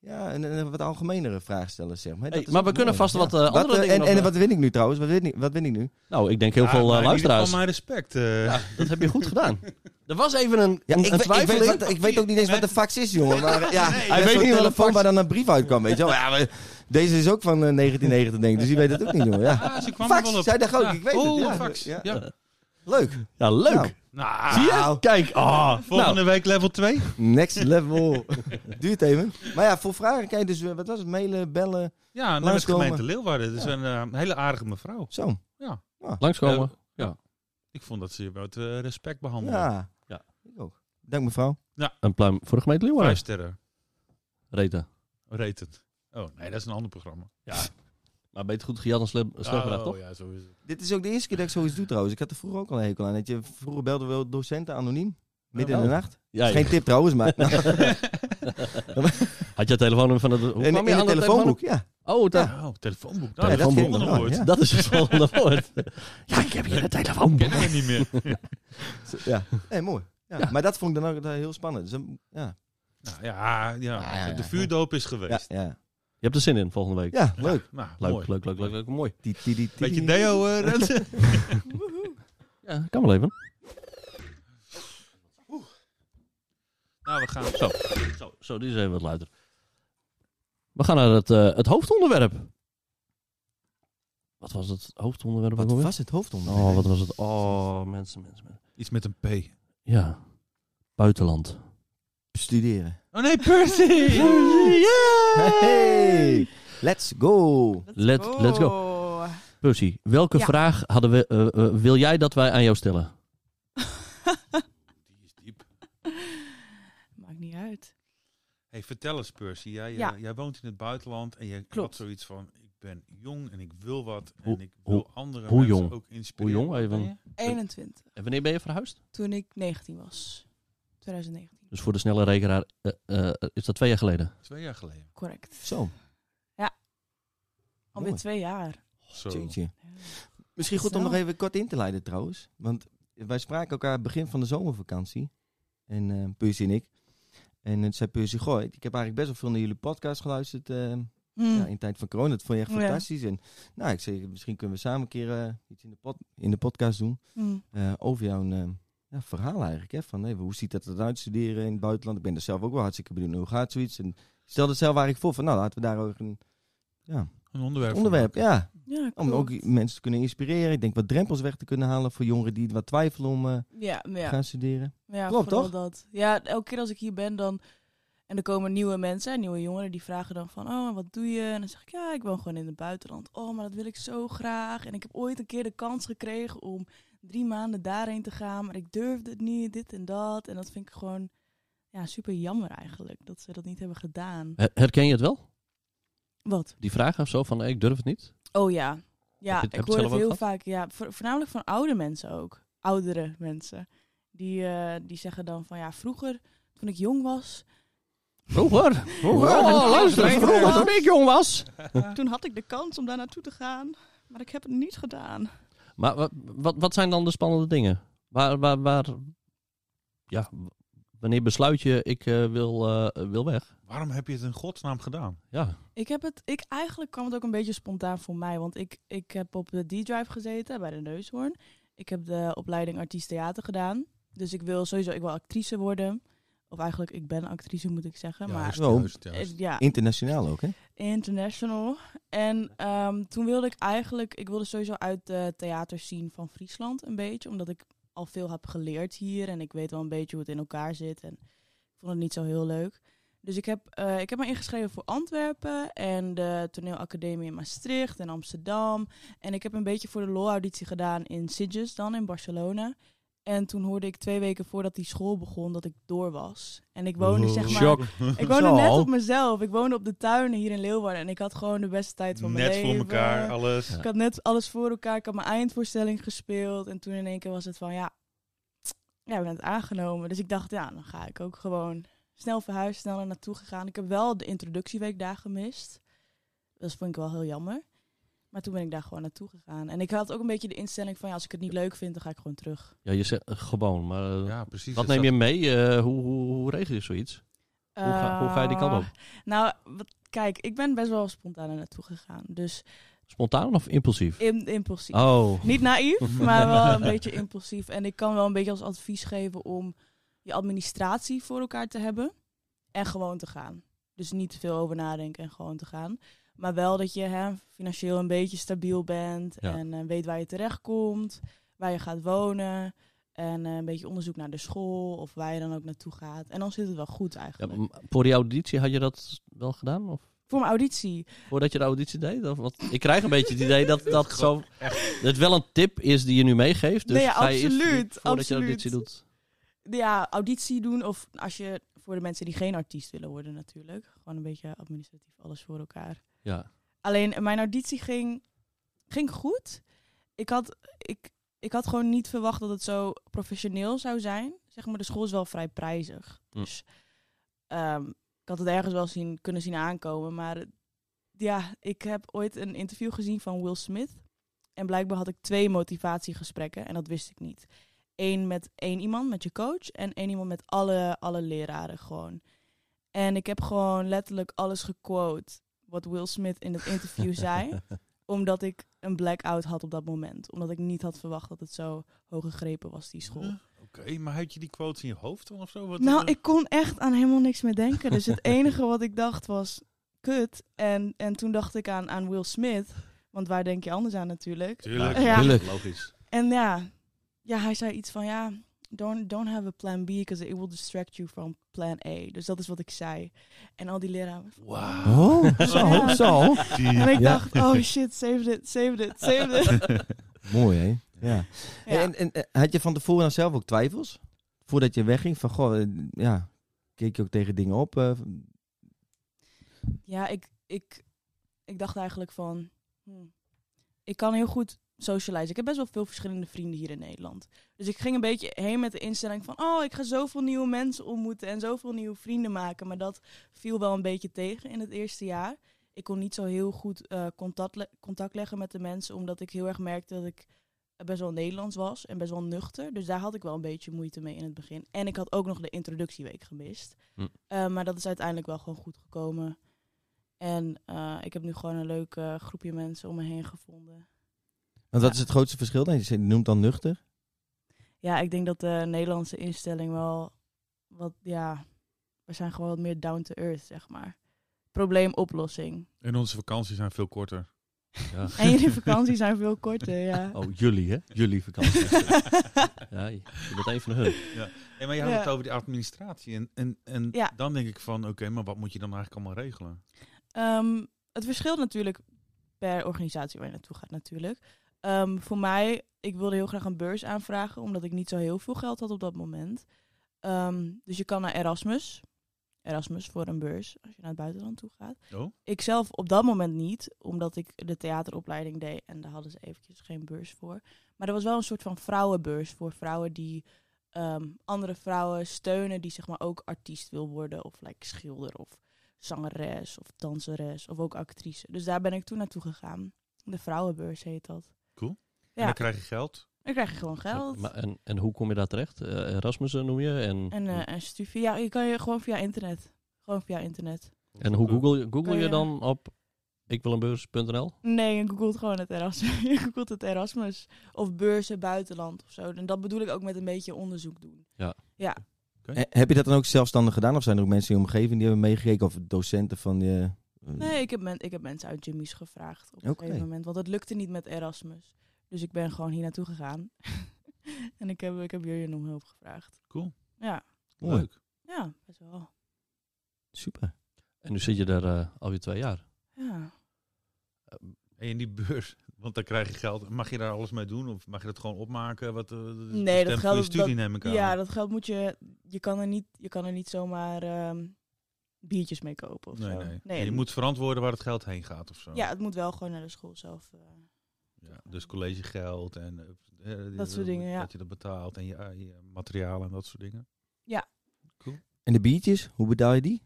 Ja, een, een wat algemenere vraag stellen, zeg Hey, maar. Dat is maar we ook kunnen mooi. vast wat, eh, andere eh, dingen En, nog, en eh. wat win ik nu trouwens? Wat win ik, wat win ik nu? Nou, ik denk heel Ja, veel eh, maar in ieder luisteraars. geval mijn respect. eh. Dat heb je goed gedaan. Er was even een, Ja, een, een ik, weet- ik, weet, twijfeling. wat- ik weet ook niet eens wat de fax is, jongen. Maar, ja, weet hij weet niet wat niet een telefoon fax- waar dan een brief uitkwam, weet je wel. Ja, maar deze is ook van eh, 1990, denk ik. Dus je weet het ook niet, jongen. Ja. Ah, ze kwam er Fax, wel op. zij dacht ook, Ja. ik weet oh, het. Ja, fax. Ja. ja. Leuk. Ja, leuk. Nou. Nou, Zie je? Nou. Kijk. ah, volgende nou, week level 2. Next level. Duurt even. Maar ja, voor vragen kan je dus, eh, wat was het, mailen, bellen, Ja, namens Langskomen. gemeente Leeuwarden. Dat is een eh, hele aardige mevrouw. zo. langskomen. Ik vond dat ze je met eh, respect behandelde. Ja. Ja. Ik ook. Dank mevrouw. Een pluim voor de gemeente Leeuwarden. Vijf sterren. Reta. Rated. Oh, nee, dat is een ander programma. Maar beter goed gejat dan slim, slim gedaan, oh, toch? ja, zo is het. Dit is ook de eerste keer dat ik zoiets doe trouwens. Ik had er vroeger ook al een hekel aan. Dat je, vroeger belden we wel docenten anoniem. Midden in de Oh. nacht. Ja, Geen tip trouwens, maar... Nou, Had je het telefoonnummer van het... Hoe in, kwam je in aan het dat telefoonboek, ja. Oh, daar. Oh, telefoonboek. Ja, Nou, dat dat ging is het nog volgende wel, woord. ja. Dat is het volgende woord. Ja, ik heb hier een telefoonboek. Kennen we niet meer. Ja, nee, mooi. Ja. Maar dat vond ik dan ook eh, heel spannend. Dus, dan- ja. nou, ja, ja, Ah, ja, ja, de ja. vuurdoop is Ja, geweest. ja. Je hebt er zin in volgende week. ja, leuk. Nou, Leuk, mooi. leuk, leuk, leuk, leuk. Mooi. Die, die, die, die- Beetje deo, eh, Renze. Ja, kan wel even. nou, we gaan Zo, zo, zo die is even wat luider. We gaan naar het, eh, het hoofdonderwerp. Wat was het hoofdonderwerp? Wat ook alweer? was het hoofdonderwerp? Oh, wat was het? Oh, mensen, mensen, mensen. iets met een P. Ja, buitenland. Studeren. Oh nee, Percy! Hey, let's go. Let- let's go. Percy, welke Ja. vraag hadden we, eh, eh, wil jij dat wij aan jou stellen? Die is diep. Maakt niet uit. Hey, vertel eens, Percy. Jij, eh, Ja. jij woont in het buitenland en je had Klopt. zoiets van: ik ben jong en ik wil wat. En Hoe- ik wil hoe- andere hoe mensen jong? ook inspireren. Hoe jong? Even- Ben je? 21, En wanneer ben je verhuisd? toen ik 19 was. 2019, Dus voor de snelle rekenaar eh, eh, is dat twee jaar geleden. Twee jaar geleden. correct. Zo, Alweer mooi. twee jaar. Oh, Zo. tjintje. Ja. Misschien goed om Zo. nog even kort in te leiden trouwens. Want wij spraken elkaar begin van de zomervakantie. En eh Percy en ik. En het zei Percy, goh, ik heb eigenlijk best wel veel naar jullie podcast geluisterd. eh, Hmm. ja, in de tijd van corona. Dat vond je echt Ja. fantastisch. En nou, ik zei, misschien kunnen we samen een keer eh, iets in de, pod- in de podcast doen. Hmm. eh, over jouw eh, ja, verhaal eigenlijk. Hè? Van, hey, hoe ziet dat eruit studeren in het buitenland? Ik ben er zelf ook wel hartstikke benieuwd naar. Hoe gaat zoiets? En ik stelde het zelf eigenlijk voor van, nou laten we daar ook een Een onderwerp. onderwerp, ja. Ja, Om Oh, ook klopt. mensen te kunnen inspireren. Ik denk wat drempels weg te kunnen halen voor jongeren die wat twijfelen om eh, Ja, maar te ja. gaan studeren. Ja, Klopt, vooral toch? dat. Ja, elke keer als ik hier ben dan... En er komen nieuwe mensen, nieuwe jongeren, die vragen dan van... Oh, wat doe je? En dan zeg ik, ja, ik woon gewoon in het buitenland. Oh, maar dat wil ik zo graag. En ik heb ooit een keer de kans gekregen om drie maanden daarheen te gaan. Maar ik durfde het niet, dit en dat. En dat vind ik gewoon ja, super jammer eigenlijk. Dat ze dat niet hebben gedaan. Her- Herken je het wel? Wat? Die vraag of zo van hey, ik durf het niet? Oh ja. Heb je Ja, het- heb je ik het hoor zelf het ook heel gehad? vaak. Ja, vo- voornamelijk van oude mensen ook. Oudere mensen. Die, eh, die zeggen dan van ja, vroeger toen ik jong was, Vroeger! Vroeger. Oh, luister, Vroeger. vroeger toen ik jong was! toen had ik de kans om daar naartoe te gaan. Maar ik heb het niet gedaan. Maar wat, wat, wat zijn dan de spannende dingen? Waar, waar, waar ja, w- wanneer besluit je ik eh, wil, eh, wil weg? Waarom heb je het in godsnaam gedaan? Ja, Ik heb het, ik eigenlijk kwam het ook een beetje spontaan voor mij. Want ik, ik heb op de D-Drive gezeten bij de Neushoorn. Ik heb de opleiding artiest theater gedaan. Dus ik wil sowieso, ik wil actrice worden. Of eigenlijk, ik ben actrice moet ik zeggen. Ja, maar juist, Zo. juist, juist. eh, ja, Internationaal ook, hè? International. En ehm, toen wilde ik eigenlijk, ik wilde sowieso uit de theaters zien van Friesland een beetje, omdat ik al veel heb geleerd hier en ik weet wel een beetje hoe het in elkaar zit en ik vond het niet zo heel leuk. Dus ik heb, eh, ik heb me ingeschreven voor Antwerpen en de toneelacademie in Maastricht en Amsterdam. En ik heb een beetje voor de LOL-auditie gedaan in Sitges dan, in Barcelona. En toen hoorde ik twee weken voordat die school begon dat ik door was. En ik woonde Wow. zeg maar... Oh, shock. Ik woonde Zo. net op mezelf. Ik woonde op de tuinen hier in Leeuwarden. En ik had gewoon de beste tijd van mijn Net voor leven. elkaar, alles. Ja. Ik had net alles voor elkaar. Ik had mijn eindvoorstelling gespeeld. En toen in één keer was het van, ja, ja, we hebben het aangenomen. Dus ik dacht, ja, dan ga ik ook gewoon snel verhuizen, snel er naartoe gegaan. Ik heb wel de introductieweekdagen gemist. Dat vond ik wel heel jammer. Maar toen ben ik daar gewoon naartoe gegaan. En ik had ook een beetje de instelling van, ja, als ik het niet leuk vind, dan ga ik gewoon terug. ja je zegt eh, gewoon, maar eh, Ja, precies. wat Dus neem je dat- mee? Eh, hoe, hoe, hoe regel je zoiets? Hoe ga, hoe ga je die kant Eh, op? Nou, wat- kijk, ik ben best wel spontaan er naartoe gegaan. Dus Spontaan of impulsief? im- impulsief. Oh, Niet naïef, maar wel een beetje impulsief. En ik kan wel een beetje als advies geven om je administratie voor elkaar te hebben. En gewoon te gaan. Dus niet te veel over nadenken en gewoon te gaan. Maar wel dat je hè, financieel een beetje stabiel bent. Ja. En eh, weet waar je terechtkomt. Waar je gaat wonen. En eh, een beetje onderzoek naar de school. Of waar je dan ook naartoe gaat. En dan zit het wel goed ja, eigenlijk. m- voor die auditie had je dat wel gedaan? Of Voor mijn auditie. voordat je de auditie deed? Of wat? Ik krijg een beetje het idee dat dat zo, dat wel een tip is die je nu meegeeft. Dus Nee, ja, ga je eerst absoluut, voordat je de auditie absoluut. doet. ja, auditie doen. Of als je voor de mensen die geen artiest willen worden, natuurlijk. Gewoon een beetje administratief alles voor elkaar. Ja. Alleen eh, mijn auditie ging, ging goed. Ik had, ik, ik had gewoon niet verwacht dat het zo professioneel zou zijn. Zeg maar, de school is wel vrij prijzig. Hm. Dus ehm, ik had het ergens wel zien, kunnen zien aankomen. Maar eh, ja, ik heb ooit een interview gezien van Will Smith. En blijkbaar had ik twee motivatiegesprekken en dat wist ik niet. Eén met één iemand, met je coach. En één iemand met alle, alle leraren gewoon. En ik heb gewoon letterlijk alles gequote wat Will Smith in het interview zei. Omdat ik een blackout had op dat moment. Omdat ik niet had verwacht dat het zo hoog gegrepen was, die school. Oké, maar had je die quotes in je hoofd dan of zo? Wat- Nou, eh, ik kon echt aan helemaal niks meer denken. Dus het enige wat ik dacht was, kut. En, en toen dacht ik aan, aan Will Smith. Want waar denk je anders aan natuurlijk? Tuurlijk, Ja. Tuurlijk. logisch. En ja, ja hij zei iets van ja, don't, don't have a plan B, because it will distract you from plan A. Dus dat is wat ik zei. En al die leraren. Wauw. Oh, zo, Ja. zo. En Ja. ik dacht, oh shit, save it, save it, save it. Mooi, hè? Ja. Ja. En, en eh, had je van tevoren dan zelf ook twijfels? Voordat je wegging, van goh, eh, ja, keek je ook tegen dingen op? eh, Ja, ik, ik, ik dacht eigenlijk van, hm, ik kan heel goed socializen. Ik heb best wel veel verschillende vrienden hier in Nederland. Dus ik ging een beetje heen met de instelling van, oh, ik ga zoveel nieuwe mensen ontmoeten en zoveel nieuwe vrienden maken. Maar dat viel wel een beetje tegen in het eerste jaar. Ik kon niet zo heel goed eh, contact, le- contact leggen met de mensen, omdat ik heel erg merkte dat ik best wel Nederlands was en best wel nuchter. Dus daar had ik wel een beetje moeite mee in het begin. En ik had ook nog de introductieweek gemist. Hm. Eh, maar dat is uiteindelijk wel gewoon goed gekomen. En eh, ik heb nu gewoon een leuk eh, groepje mensen om me heen gevonden. Want dat is het grootste verschil. dan? Je noemt dan nuchter. Ja, ik denk dat de Nederlandse instelling wel wat, ja, we zijn gewoon wat meer down to earth, zeg maar. Probleemoplossing. En onze vakanties zijn veel korter. Ja. En jullie vakanties zijn veel korter, ja. Oh, jullie, hè? Jullie vakantie. ja, je je bent een van hun. En maar je had Ja. het over die administratie. En, en, en Ja. dan denk ik van, oké, maar wat moet je dan eigenlijk allemaal regelen? Ehm, het verschilt natuurlijk per organisatie waar je naartoe gaat natuurlijk. Ehm, voor mij, ik wilde heel graag een beurs aanvragen, omdat ik niet zo heel veel geld had op dat moment. Ehm, dus je kan naar Erasmus. Erasmus voor een beurs, als je naar het buitenland toe gaat. Oh? Ik zelf op dat moment niet, omdat ik de theateropleiding deed en daar hadden ze eventjes geen beurs voor. Maar er was wel een soort van vrouwenbeurs voor vrouwen die ehm, andere vrouwen steunen die zeg maar ook artiest wil worden of like, schilder of zangeres of danseres of ook actrice. Dus daar ben ik toen naartoe gegaan. De vrouwenbeurs heet dat. En Ja. dan krijg je geld. Dan krijg je gewoon geld. Maar, en, en hoe kom je daar terecht? Eh, Erasmus eh, noem je? En, En, eh en studie. Ja, je kan je gewoon via internet. Gewoon via internet. en hoe google, je- google Kan je je- dan op ikwilenbeurs.nl? Nee, je googelt gewoon het Erasmus. Je googelt het Erasmus. Of beurzen buitenland of zo. En dat bedoel ik ook met een beetje onderzoek doen. Oké. Eh, Heb je dat dan ook zelfstandig gedaan? Of zijn er ook mensen in je omgeving die hebben meegekeken? Of docenten van je... Nee, ik heb, men, ik heb mensen uit Jimmy's gevraagd op een Oké. gegeven moment. Want het lukte niet met Erasmus. Dus ik ben gewoon hier naartoe gegaan. en ik heb, ik heb jullie om hulp gevraagd. Cool. Ja, Mooi. Leuk. ja, best wel. Super. En nu zit je daar eh, alweer twee jaar. Ja. En in die beurs, want dan krijg je geld. Mag je daar alles mee doen? Of mag je dat gewoon opmaken? Wat, eh, Nee, dat stemt voor geld- je studie dat- neem ik aan. ja, dat geld moet je... Je kan er niet, je kan er niet zomaar ehm, biertjes mee kopen of nee, zo. nee. Nee, En je het- moet verantwoorden waar het geld heen gaat of zo. Ja, het moet wel gewoon naar de school zelf. eh. Ja, dus collegegeld en eh, eh, Dat soort dingen, ja. Dat je dat betaalt en je, eh, je materialen en dat soort dingen. En de biertjes, hoe betaal je die?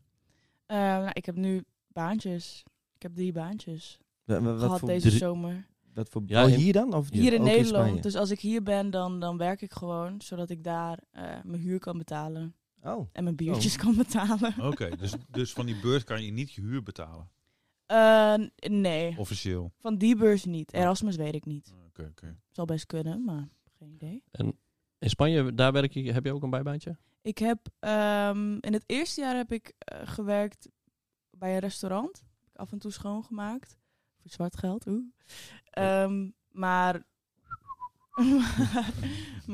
Eh, nou, ik heb nu baantjes. Ik heb drie baantjes Wa- wa- Wat gehad voor, deze Drie- zomer. wat voor Ja, oh, in- hier dan? Of Hier in ook Nederland. Spanje? dus als ik hier ben, dan, dan werk ik gewoon. Zodat ik daar eh, mijn huur kan betalen. Oh, En mijn biertjes kan betalen. Oké, dus, dus van die beurs kan je niet je huur betalen. Eh, n- nee, Officieel. van die beurs niet. Erasmus weet ik niet. Oké, oké. Zal best kunnen, maar geen idee. In Spanje, daar werk je, heb je ook een bijbaantje? Ik heb ehm, in het eerste jaar heb ik eh, gewerkt bij een restaurant. Heb ik af en toe schoongemaakt. Voor zwart geld, oeh. Ehm, maar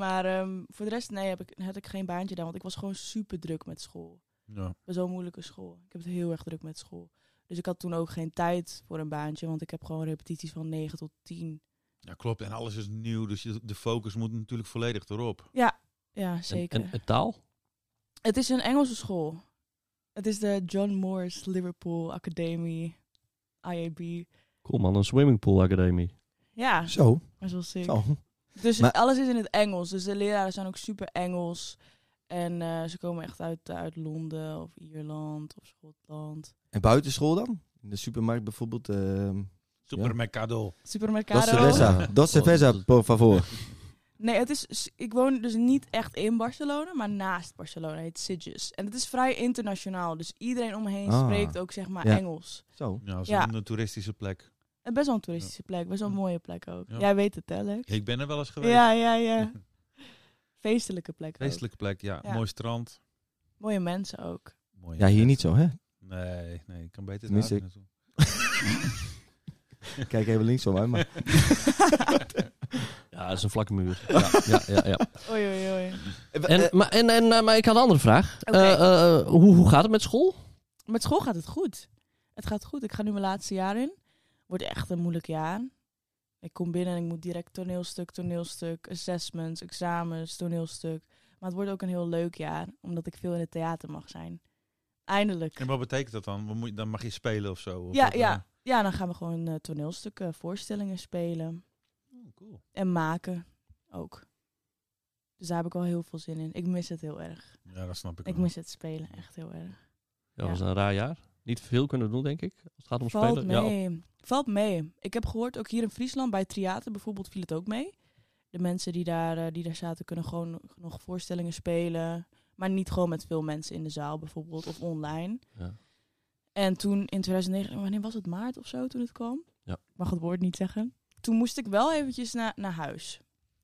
maar ehm, voor de rest, nee, heb ik, had ik geen baantje daar. Want ik was gewoon super druk met school. Ja. Best wel een moeilijke school. Ik heb het heel erg druk met school. Dus ik had toen ook geen tijd voor een baantje. Want ik heb gewoon repetities van 9 tot 10. ja, klopt. En alles is nieuw, dus je- de focus moet natuurlijk volledig erop. Ja, zeker. En, en, en taal? Het is een Engelse school. Het is de John Morris Liverpool Academy. IAB. Cool man, een swimmingpool academie. Ja, zo. maar is wel sick. zo. Dus Maar- alles is in het Engels. Dus de leraren zijn ook super Engels. En eh, ze komen echt uit, uit Londen of Ierland of Schotland. En buitenschool dan? In de supermarkt bijvoorbeeld. ehm Supermercado. Dos Supermercado. Cerveza. Dos Cerveza, por favor. Nee, het is, ik woon dus niet echt in Barcelona, maar naast Barcelona. Het heet Sitges. En het is vrij internationaal. Dus iedereen om me heen Ah. spreekt ook zeg maar Ja. Engels. Zo. Ja, zo'n Ja. eh, toeristische plek. En best wel een toeristische plek. Best wel een Ja. mooie plek ook. Ja. Jij weet het, hè, Lex? Ik ben er wel eens geweest. Ja, ja, ja. Feestelijke plek ook. Feestelijke plek, ja. Ja. Mooi strand. Mooie mensen ook. Mooi Ja, hier niet zo, hè? Nee, nee. Ik kan beter Tenminste, daar naartoe. Kijk even linksom uit, maar... Ja, dat is een vlakke muur. Ja, ja, ja, ja. Oei, oei, oei. En, maar, en, en, eh, maar ik had een andere vraag. Oké. Eh, eh, hoe, hoe gaat het met school? Met school gaat het goed. Het gaat goed. Ik ga nu mijn laatste jaar in. Wordt echt een moeilijk jaar. Ik kom binnen en ik moet direct toneelstuk, toneelstuk, assessments, examens, toneelstuk. Maar het wordt ook een heel leuk jaar, omdat ik veel in het theater mag zijn. Eindelijk. En wat betekent dat dan? Wat moet je- Dan mag je spelen of zo? Of Ja, wat, eh? ja. Ja, dan gaan we gewoon eh, toneelstukken, voorstellingen spelen Oh, cool. en maken ook. Dus daar heb ik al heel veel zin in. Ik mis het heel erg. Ja, dat snap ik. Ik wel. mis het spelen echt heel erg. Ja, dat was een raar jaar. Niet veel kunnen doen, denk ik. Als het gaat om Valt spelen. Ja, op- mee. Valt mee. Ik heb gehoord, ook hier in Friesland, bij theater bijvoorbeeld, viel het ook mee. De mensen die daar, eh, die daar zaten kunnen gewoon nog voorstellingen spelen. Maar niet gewoon met veel mensen in de zaal bijvoorbeeld, of online. Ja. En toen in 2009, wanneer was het? Maart of zo toen het kwam? Ja. Ik mag het woord niet zeggen. Toen moest ik wel eventjes na, naar huis.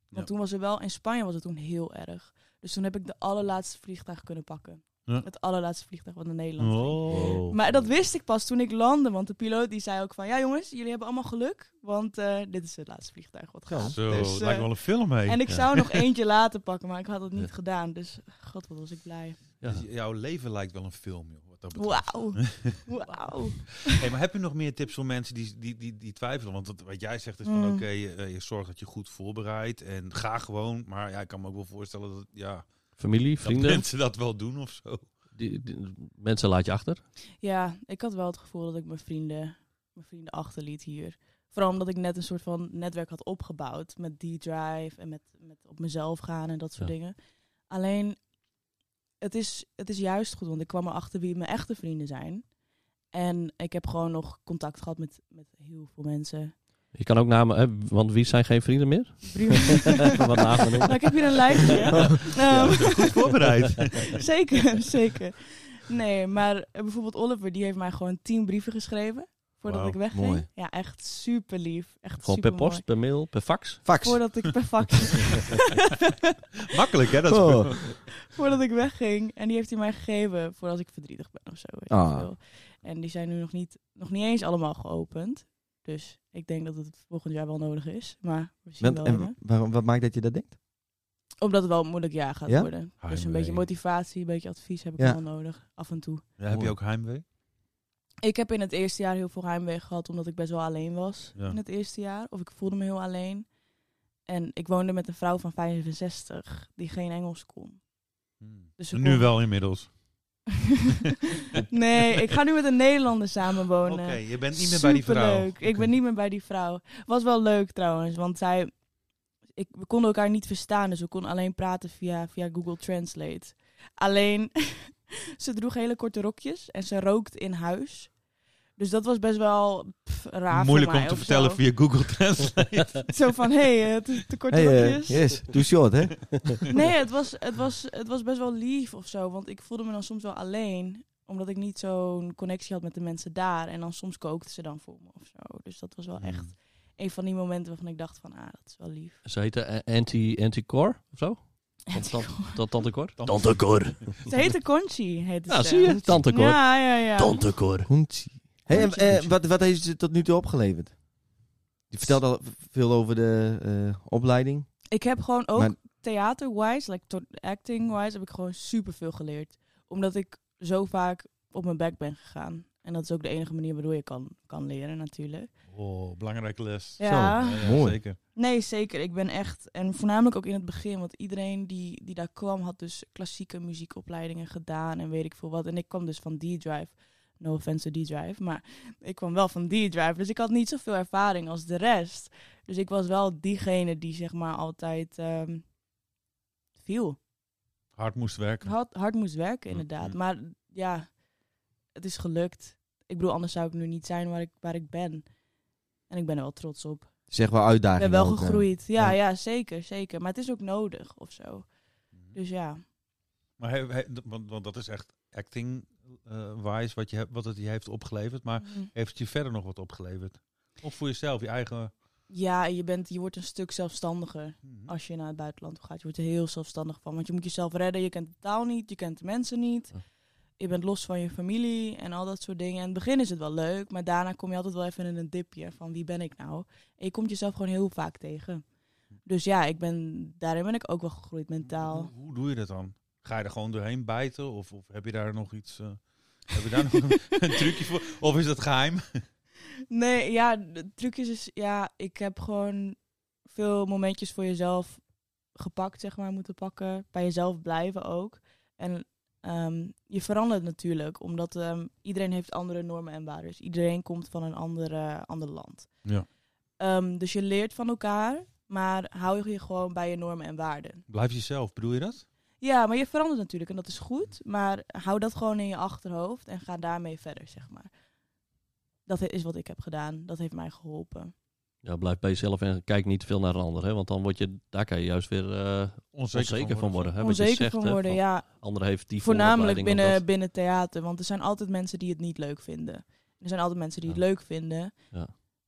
Want Ja. toen was er wel, in Spanje was het toen heel erg. Dus toen heb ik de allerlaatste vliegtuig kunnen pakken. Ja. Het allerlaatste vliegtuig wat naar Nederland ging. Oh. Maar dat wist ik pas toen ik landde, want de piloot die zei ook van... Ja jongens, jullie hebben allemaal geluk, want eh, dit is het laatste vliegtuig wat gaat. Zo, Dus, het eh, lijkt wel een film mee. En ik zou nog eentje later pakken, maar ik had dat niet Ja. gedaan. Dus god, wat was ik blij. ja. Dus jouw leven lijkt wel een film, joh. Wat dat betreft. Wauw. Wauw. Hey, maar heb je nog meer tips voor mensen die, die, die, die twijfelen? Want wat, wat jij zegt is van Mm. oké, je, eh, je zorgt dat je goed voorbereidt en ga gewoon. Maar ja, ik kan me ook wel voorstellen dat, ja, Familie, dat vrienden. mensen dat wel doen of zo. Die, die- mensen laat je achter. Ja, ik had wel het gevoel dat ik mijn vrienden, mijn vrienden achterliet hier. Vooral omdat ik net een soort van netwerk had opgebouwd met D-Drive en met, met op mezelf gaan en dat soort Ja. dingen. Alleen, het is, het is juist goed, want ik kwam erachter wie mijn echte vrienden zijn. En ik heb gewoon nog contact gehad met, met heel veel mensen. Je kan ook namen, hè, want wie zijn geen vrienden meer? Wat namen nou, noemen. ik heb hier een lijstje. Oh. Ehm, Goed voorbereid. zeker, zeker. Nee, maar eh, bijvoorbeeld Oliver, die heeft mij gewoon tien brieven geschreven voordat Wauw, ik wegging. mooi. Ja, echt super lief. Echt Gewoon per supermooi. post, per mail, per fax. Fax. Voordat ik per fax, Makkelijk, hè? Dat is- Oh. voordat ik wegging. En die heeft hij mij gegeven voor als ik verdrietig ben of zo. weet ik Ah. veel. En die zijn nu nog niet, nog niet eens allemaal geopend. Dus ik denk dat het volgend jaar wel nodig is. Maar we zien Want- wel. en hè. waarom, wat maakt dat je dat denkt? Omdat het wel een moeilijk jaar gaat Ja? worden. Dus een Heimwee. beetje motivatie, een beetje advies heb ik Ja. wel nodig. Af en toe. Ja, heb je ook heimwee? Ik heb in het eerste jaar heel veel heimwee gehad, omdat ik best wel alleen was Ja. in het eerste jaar. Of ik voelde me heel alleen. En ik woonde met een vrouw van 65 die geen Engels kon. Dus we Hmm. Nu konden- wel inmiddels. nee, ik ga nu met een Nederlander samenwonen. Oké, je bent niet meer bij die vrouw. eh, Superleuk. Ik ben niet meer bij die vrouw. Was wel leuk trouwens, want zij... Ik, we konden elkaar niet verstaan, dus we konden alleen praten via, via Google Translate. Alleen, ze droeg hele korte rokjes en ze rookt in huis. Dus dat was best wel pff, raar Moeilijk voor om mij te of vertellen zo. via Google Translate. Zo van, hé, hey, het is te korte Hey, eh, rokjes. yes, too short, hè? Nee, het was, het, was, het was best wel lief of zo. Want ik voelde me dan soms wel alleen. Omdat ik niet zo'n connectie had met de mensen daar. En dan soms kookte ze dan voor me of zo. Dus dat was wel Hmm. echt een van die momenten waarvan ik dacht van... Ah, dat is wel lief. Ze heette eh, anti, anti-core of zo? Want dan- Dat Tante Cor? Tante Cor. Ze heette Conchi, heette Nou, ze. zie je? Tante Cor. Ja, ja, ja. Cor. Hey, en, eh, wat, wat heeft ze tot nu toe opgeleverd? Je vertelt al veel over de eh, opleiding. Ik heb gewoon ook Maar- theater-wise, like to- acting-wise, heb ik gewoon superveel geleerd. Omdat ik zo vaak op mijn bek ben gegaan. En dat is ook de enige manier waardoor je kan, kan leren natuurlijk. Oh, belangrijke les. Ja. mooi. Zeker. Nee, zeker. Ik ben echt, en voornamelijk ook in het begin, want iedereen die, die daar kwam had dus klassieke muziekopleidingen gedaan en weet ik veel wat. En ik kwam dus van D-Drive. No offense to D-Drive, maar ik kwam wel van D-Drive. Dus ik had niet zoveel ervaring als de rest. Dus ik was wel diegene die zeg maar altijd ehm, viel. Hard moest werken. Hard, hard moest werken inderdaad. Mhm. Maar ja, het is gelukt. Ik bedoel, anders zou ik nu niet zijn waar ik, waar ik ben. En ik ben er wel trots op. Zeg wel uitdaging. Ik ben wel ook, eh. gegroeid. Ja, ja. ja. zeker, zeker. Maar het is ook nodig of zo. Dus ja. Maar hij, hij- d- want, want dat is echt acting-wise wat, je hebt- wat het je heeft opgeleverd. Maar Mhm. heeft het je verder nog wat opgeleverd? Of voor jezelf, je eigen... Ja, je, bent, je wordt een stuk zelfstandiger Mhm. als je naar het buitenland toe gaat. Je wordt er heel zelfstandig van. Want je moet jezelf redden. Je kent de taal niet, je kent de mensen niet. Ja. Je bent los van je familie en al dat soort dingen. In het begin is het wel leuk, maar daarna kom je altijd wel even in een dipje van wie ben ik nou? En je komt jezelf gewoon heel vaak tegen. Dus ja, ik ben, daarin ben ik ook wel gegroeid mentaal. Hoe, hoe doe je dat dan? Ga je er gewoon doorheen bijten? Of, of heb je daar nog iets... eh, heb je daar nog een, een trucje voor? Of is dat geheim? Nee, ja, de trucjes is, ja, ik heb gewoon veel momentjes voor jezelf gepakt, zeg maar, moeten pakken. Bij jezelf blijven ook. En Ehm, je verandert natuurlijk, omdat ehm, iedereen heeft andere normen en waarden. Dus Iedereen komt van een andere, ander land. Ja. Ehm, dus je leert van elkaar, maar hou je gewoon bij je normen en waarden. Blijf jezelf, bedoel je dat? Ja, maar je verandert natuurlijk en dat is goed. Maar hou dat gewoon in je achterhoofd en ga daarmee verder, zeg maar. Dat is wat ik heb gedaan. Dat heeft mij geholpen. Ja, blijf bij jezelf en kijk niet te veel naar een ander. Hè? Want dan word je, daar kan je juist weer eh, onzeker, van worden. Hè? Wat je Onzeker zegt, van hè, worden, van ja. Anderen heeft die Voornamelijk vooropleiding of dat. binnen, binnen theater. Want er zijn altijd mensen die het niet leuk vinden. Er zijn altijd mensen die het Ja. leuk vinden.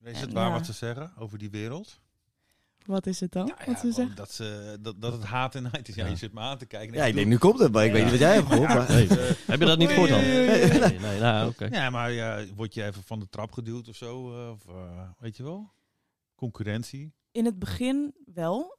Is het En waar ja. wat ze zeggen over die wereld? Wat is het dan? Nou ja, Oh, wat ze gewoon zeggen? dat, ze, dat, dat het haat en nijd is. Ja, Ja. je zit me aan te kijken. Ja, ik denk, bedoel- nu komt het, maar ik weet niet wat jij hebt gehoord. maar- Nee. Heb je dat niet gehoord dan? Nee, nee, nou, oké. Ja, maar ja, word je even van de trap geduwd of zo? eh, Of, eh, weet je wel? Concurrentie. In het begin wel,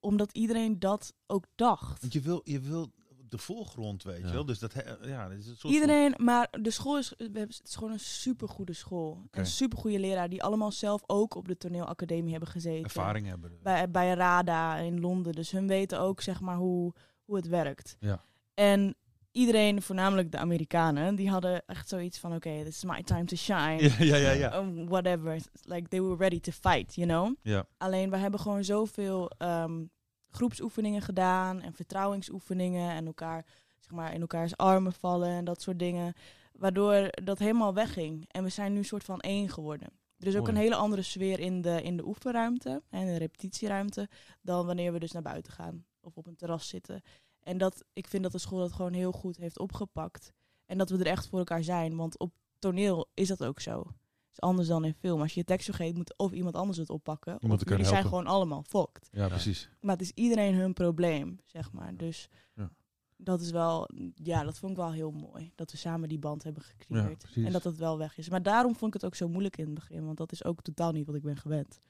omdat iedereen dat ook dacht. Want je wil, je wil de voorgrond, weet Ja. je wel. Dus dat, he- ja, dat is een soort Iedereen, maar de school is, we hebben- het is gewoon een supergoede school. Oké. Een supergoede leraar die allemaal zelf ook op de toneelacademie hebben gezeten. van ervaring hebben. Bij, bij RADA in Londen. Dus hun weten ook zeg maar hoe, hoe het werkt. Ja. En iedereen, voornamelijk de Amerikanen, die hadden echt zoiets van... Oké, this is my time to shine. Ja, ja, ja. ja. Um, whatever. It's Like they were ready to fight, you know? Ja. Alleen we hebben gewoon zoveel ehm, groepsoefeningen gedaan en vertrouwensoefeningen en elkaar, zeg maar, in elkaars armen vallen en dat soort dingen. Waardoor dat helemaal wegging. En we zijn nu een soort van één geworden. Er is ook Mooi. een hele andere sfeer in de, in de oefenruimte en de repetitieruimte dan wanneer we dus naar buiten gaan of op een terras zitten. En dat, ik vind dat de school dat gewoon heel goed heeft opgepakt. En dat we er echt voor elkaar zijn. Want op toneel is dat ook zo. is anders dan in film. Als je je tekst vergeet, moet of iemand anders het oppakken. Iemand of kan jullie zijn helpen. gewoon allemaal fokt. Ja, precies. Maar het is iedereen hun probleem, zeg maar. Dus Ja. dat is wel, ja, dat vond ik wel heel mooi. Dat we samen die band hebben Ja, gecreëerd. precies. en dat dat wel weg is. Maar daarom vond ik het ook zo moeilijk in het begin. Want dat is ook totaal niet wat ik ben gewend.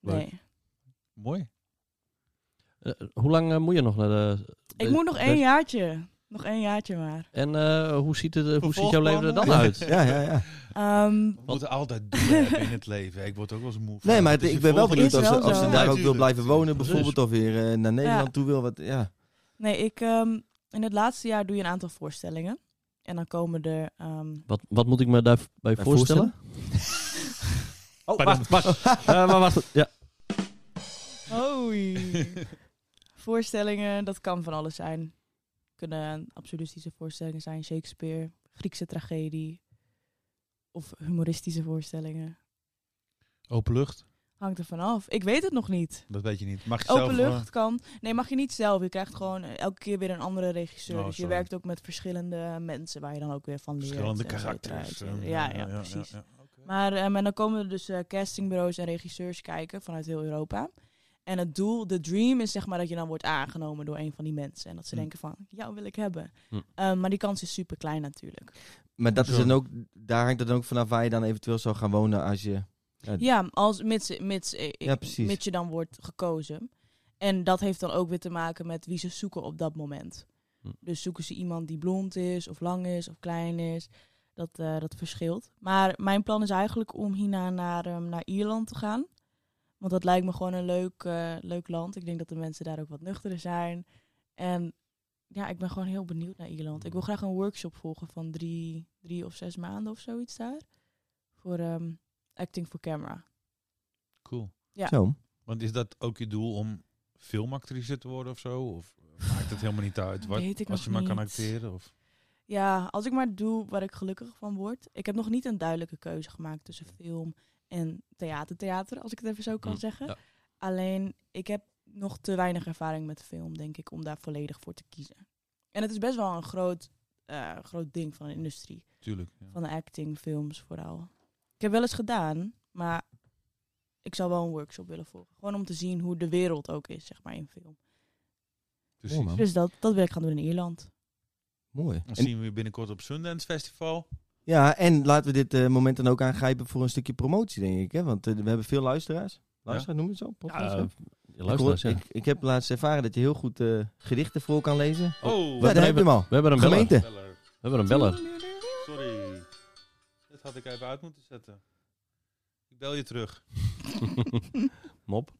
Leuk. Nee. Mooi. Eh, hoe lang eh, moet je nog naar de... Ik de- moet nog de- één jaartje. Nog één jaartje maar. En eh, hoe, ziet het, eh, hoe ziet jouw leven er dan uit? Ja, ja, ja. Ehm, We moeten altijd doen hebben in het leven. Ik word ook wel eens moe. van. Nee, maar Het is het- ik je ben wel volgende- benieuwd als ze, is wel als ze zo. daar ook wil Natuurlijk. blijven wonen, Precies. bijvoorbeeld, of weer eh, naar Nederland Ja. toe wil. Wat, ja. nee, ik, ehm, in het laatste jaar doe je een aantal voorstellingen. En dan komen er... ehm, Wat, wat moet ik me daarbij voorstellen? Oh, wacht, wacht. Eh, maar wacht. Ja. Hoi. Voorstellingen, dat kan van alles zijn. Kunnen absolutistische voorstellingen zijn, Shakespeare, Griekse tragedie of humoristische voorstellingen. Open lucht, Hangt er vanaf. Ik weet het nog niet. dat weet je niet. Mag je zelf... Open eh, lucht kan. Nee, mag je niet zelf. Je krijgt gewoon eh, elke keer weer een andere regisseur. Oh, dus je sorry. werkt ook met verschillende mensen waar je dan ook weer van leert. Verschillende et cetera, et karakters. cetera. eh, Ja, ja, precies. Maar ehm, en dan komen er dus eh, castingbureaus en regisseurs kijken vanuit heel Europa. En het doel, de dream is zeg maar dat je dan wordt aangenomen door een van die mensen. En dat ze Hm. denken van, jou wil ik hebben. Hm. Ehm, maar die kans is super klein natuurlijk. Maar dat is Zo. dan ook, daar hangt het dan ook vanaf waar je dan eventueel zou gaan wonen als je... Ja, als, mits, mits, eh, Ja, precies. mits je dan wordt gekozen. En dat heeft dan ook weer te maken met wie ze zoeken op dat moment. Hm. Dus zoeken ze iemand die blond is, of lang is, of klein is. Dat, eh, dat verschilt. Maar mijn plan is eigenlijk om hierna naar, ehm, naar Ierland te gaan. Want dat lijkt me gewoon een leuk, eh, leuk land. Ik denk dat de mensen daar ook wat nuchterder zijn. En ja, ik ben gewoon heel benieuwd naar Ierland. Ik wil graag een workshop volgen van drie, drie of zes maanden of zoiets daar. Voor ehm, acting for camera. Cool. Ja. Zo. Want is dat ook je doel om filmactrice te worden of zo? Of maakt het helemaal niet uit? Wat, Weet ik als nog je maar kan niet. acteren? Of... Ja, als ik maar doe waar ik gelukkig van word. Ik heb nog niet een duidelijke keuze gemaakt tussen film en theater. Theater, als ik het even zo kan Mm, Hm, zeggen. ja. Alleen, ik heb nog te weinig ervaring met film, denk ik, om daar volledig voor te kiezen. En het is best wel een groot, eh, groot ding van de industrie. Tuurlijk. ja. Van de acting, films vooral. Ik heb wel eens gedaan, maar ik zou wel een workshop willen volgen. Gewoon om te zien hoe de wereld ook is, zeg maar, in film. Precies. Mooi, man. Dus dat, dat wil ik gaan doen in Ierland. Mooi. Dan En- zien we je binnenkort op Sundance Festival. ja, en laten we dit eh, moment dan ook aangrijpen voor een stukje promotie, denk ik. Hè? Want eh, we hebben veel luisteraars. Luisteraars, noem je het zo? Podcast, Ja, hè? eh, ik, luister eens, hoor- ja. ik, ik heb laatst ervaren dat je heel goed eh, gedichten voor kan lezen. Oh, ja, daar heb je hem al. We hebben een beller. Gemeente. beller. We hebben een beller. Sorry. Dat had ik even uit moeten zetten. Ik bel je terug. Mop.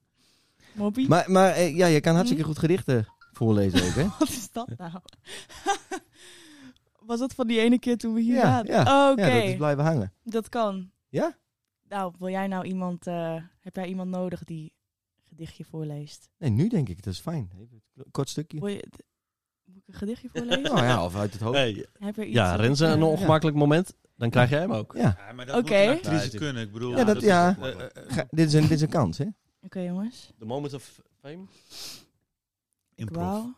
Moppie? Maar, maar eh, ja, je kan hartstikke goed gedichten voorlezen ook, hè? Wat is dat nou? Was dat van die ene keer toen we hier Ja, zaten? ja. Oké, Ja, dat is blijven hangen. dat kan. Ja? Nou, wil jij nou iemand, eh, heb jij iemand nodig die een gedichtje voorleest? Nee, nu denk ik, dat is fijn. Even een kort stukje. Wil je, moet ik een gedichtje voorlezen? Nou ja, of uit het hoofd. Hey, Heb er iets ja, Renze, een Ja. ongemakkelijk moment. Dan krijg jij hem ook. Ja, Ja, maar dat Oké. moet een actrice Ja, dit- kunnen. Ik bedoel, Ja, dat- is- ja. eh, eh, eh, Ga- dit, is een, dit is een kans, hè? Oké jongens, The moment of fame. ik improv. wou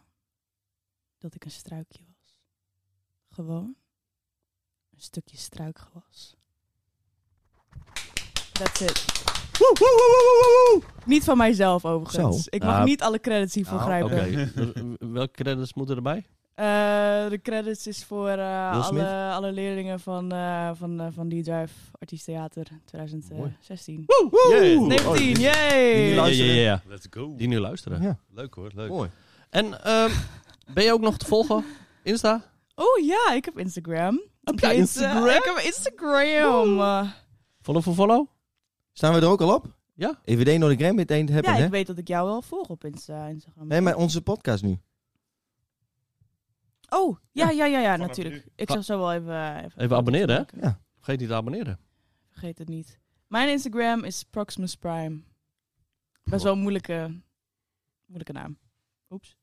dat ik een struikje was. Gewoon een stukje struikgewas. That's it. Woe, woe, woe, woe, woe, woe. Niet van mijzelf overigens. Zo. Ik mag Ah. niet alle credits hiervoor Nou, grijpen. Oké, welke credits moeten erbij? Eh, de credits is voor eh, Will Smith? alle, alle leerlingen van, eh van, eh, van D-Drive Artiest Theater 2016. Woe, woe, Yeah. woe. 19, oh, yay! Ja, luisteren. ja, ja, ja. Let's go. Die nu luisteren. Ja, Leuk hoor, leuk. mooi. En ehm, ben je ook nog te volgen? Insta? Oh ja, ik heb Instagram. Op jij Instagram? ik heb Instagram. Eh, Follow for follow? Staan we er ook al op? Ja. EVD Noord Graham, het eind hebben, ja, hè? ik weet dat ik jou wel volg op Insta Instagram. Nee, maar onze podcast nu. Oh, ja, ja, ja, ja, Vanaf natuurlijk. nu. Ik zal zo wel even... Even, Even abonneren, hè? kijken. Vergeet niet te abonneren. Vergeet het niet. Mijn Instagram is Proximus Prime. Best wel een moeilijke, moeilijke naam. Oeps.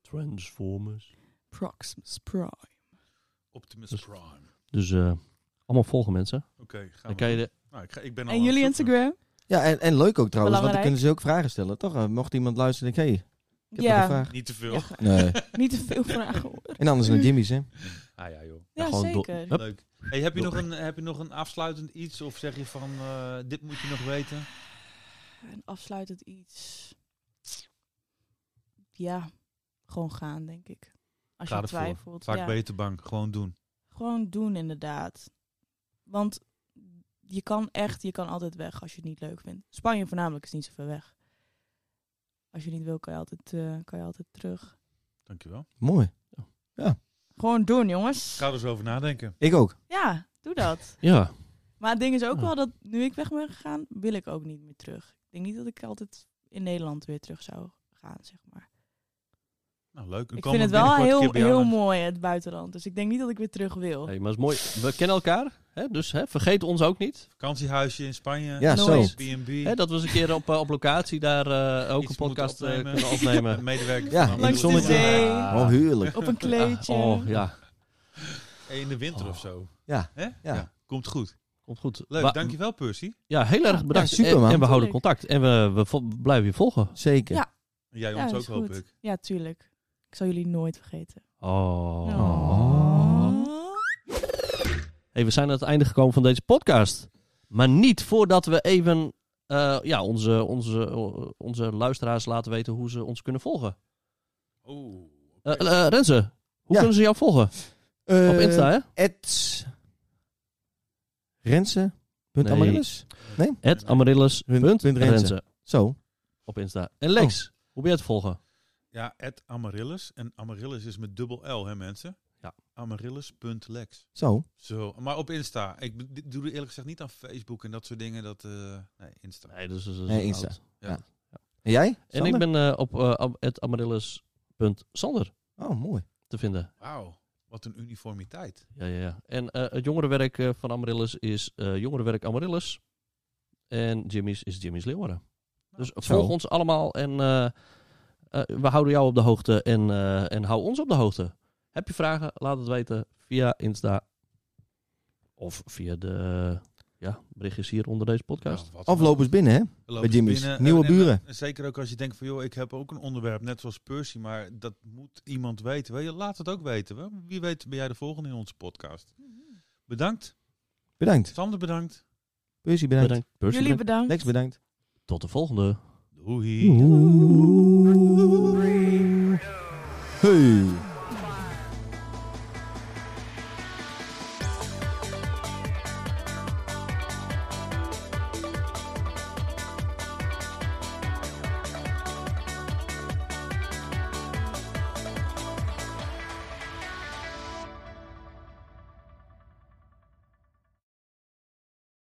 Transformers. Proximus Prime. Optimus Dus- Prime. Oké, Dus eh, allemaal volgen mensen. gaan Dan we. kan je de... Nou, ik, ga, ik ben al En aan jullie het zoeken. Instagram? Ja, en, en leuk ook trouwens, want dan Belangrijk. kunnen ze ook vragen stellen, toch? Eh, Mocht iemand luisteren, denk hey, ik heb nog een Ja, vraag. Niet te veel. Ja. Nee. niet te veel vragen hoor. En anders naar Jimmy's, hè? Ah ja, joh. Ja, Ja, gewoon door- zeker. Hup. Leuk. Hey, heb, je nog een, heb je nog een afsluitend iets? Of zeg je van, eh, dit moet je nog weten? En afsluitend iets. Ja, gewoon gaan denk ik. Als Ga je ervoor. twijfelt. Vaak ja. ben je te bang. Gewoon doen. Gewoon doen inderdaad. Want je kan echt, je kan altijd weg als je het niet leuk vindt. Spanje voornamelijk is niet zoveel weg. Als je niet wil, kan je altijd, eh, kan je altijd terug. Dankjewel. Mooi. Gewoon doen, jongens. Ik ga er eens over nadenken. Ik ook. Ja, doe dat. Ja. Maar het ding is ook Ja. wel dat nu ik weg ben gegaan, wil ik ook niet meer terug. Ik denk niet dat ik altijd in Nederland weer terug zou gaan, zeg maar. Nou, leuk. Dan Ik komen vind het we wel binnenkort een heel, keer bij jou heel langs. mooi, het buitenland. Dus ik denk niet dat ik weer terug wil. Hey, maar het is mooi. We kennen elkaar. Hè? Dus hè, vergeet ons ook niet. Vakantiehuisje in Spanje. Ja, zo. Nooit. B&B. Hè, dat we eens een keer op, eh, op locatie daar eh, ook Iets een podcast eh, moeten kunnen Een opnemen. medewerker Ja, van Langs de Amazon. zee. Ja. Oh, huurlijk. Op een Ah, kleedje. oh, ja. Hey, In de Oh. winter of zo. Ja. Hè? Komt goed. Komt goed. Leuk, Wa- dankjewel Percy. Ja, heel erg bedankt. Ja, super, en, man. en we houden Tuurlijk. contact. En we, we vo- blijven je volgen. Zeker. Ja. En Jij Ja, ons is ook hoop goed. ik. Ja, tuurlijk. Ik zal jullie nooit vergeten. Oh. Oh. Hey, we zijn aan het einde gekomen van deze podcast. Maar niet voordat we even eh, ja, onze, onze, eh, onze luisteraars laten weten hoe ze ons kunnen volgen. Oh. Eh eh, Renze, hoe Ja. kunnen ze jou volgen? Op Eh, Insta, hè? at Rensen. Punt Nee. Amaryllis? Het Amarillus. Punt- punt Renze. Oh. Renze. Zo. Op Insta. En Lex, hoe ben je het volgen? Ja, at Amaryllis. En Amaryllis is met dubbel L, hè mensen? Ja. Amaryllis.lex. Zo. Zo, maar op Insta. Ik be- dit doe er eerlijk gezegd niet aan Facebook en dat soort dingen. Dat, eh, nee, Insta. Nee, dus, dus- dus- Nee, Insta. oud. En jij? En ik ben eh, op eh, am- het Amarillus.sander Oh, mooi. te vinden. Wauw, wat een uniformiteit. Ja, ja, ja. En eh, het jongerenwerk eh, van Amaryllis is eh, jongerenwerk Amaryllis. En Jimmy's is Jimmy's Leeuwarden. Dus volg ons allemaal en eh, eh, we houden jou op de hoogte en, eh, en hou ons op de hoogte. Heb je vragen? Laat het weten via Insta of via de ja, berichtjes hier onder deze podcast. Ja, Nou, wat een- Aflopers binnen, eh, hè? Lopen bij ze Jimmy's. binnen. Nieuwe En- en- buren. en zeker ook als je denkt van, joh, ik heb ook een onderwerp, net zoals Percy, maar dat moet iemand weten. Weet je, laat het ook weten. hè? Wie weet ben jij de volgende in onze podcast. Bedankt. Bedankt. Sander bedankt. Percy, bedankt. Bedankt. Percy, Jullie bedankt. Lex, bedankt. Tot de volgende. Doei. Oeh.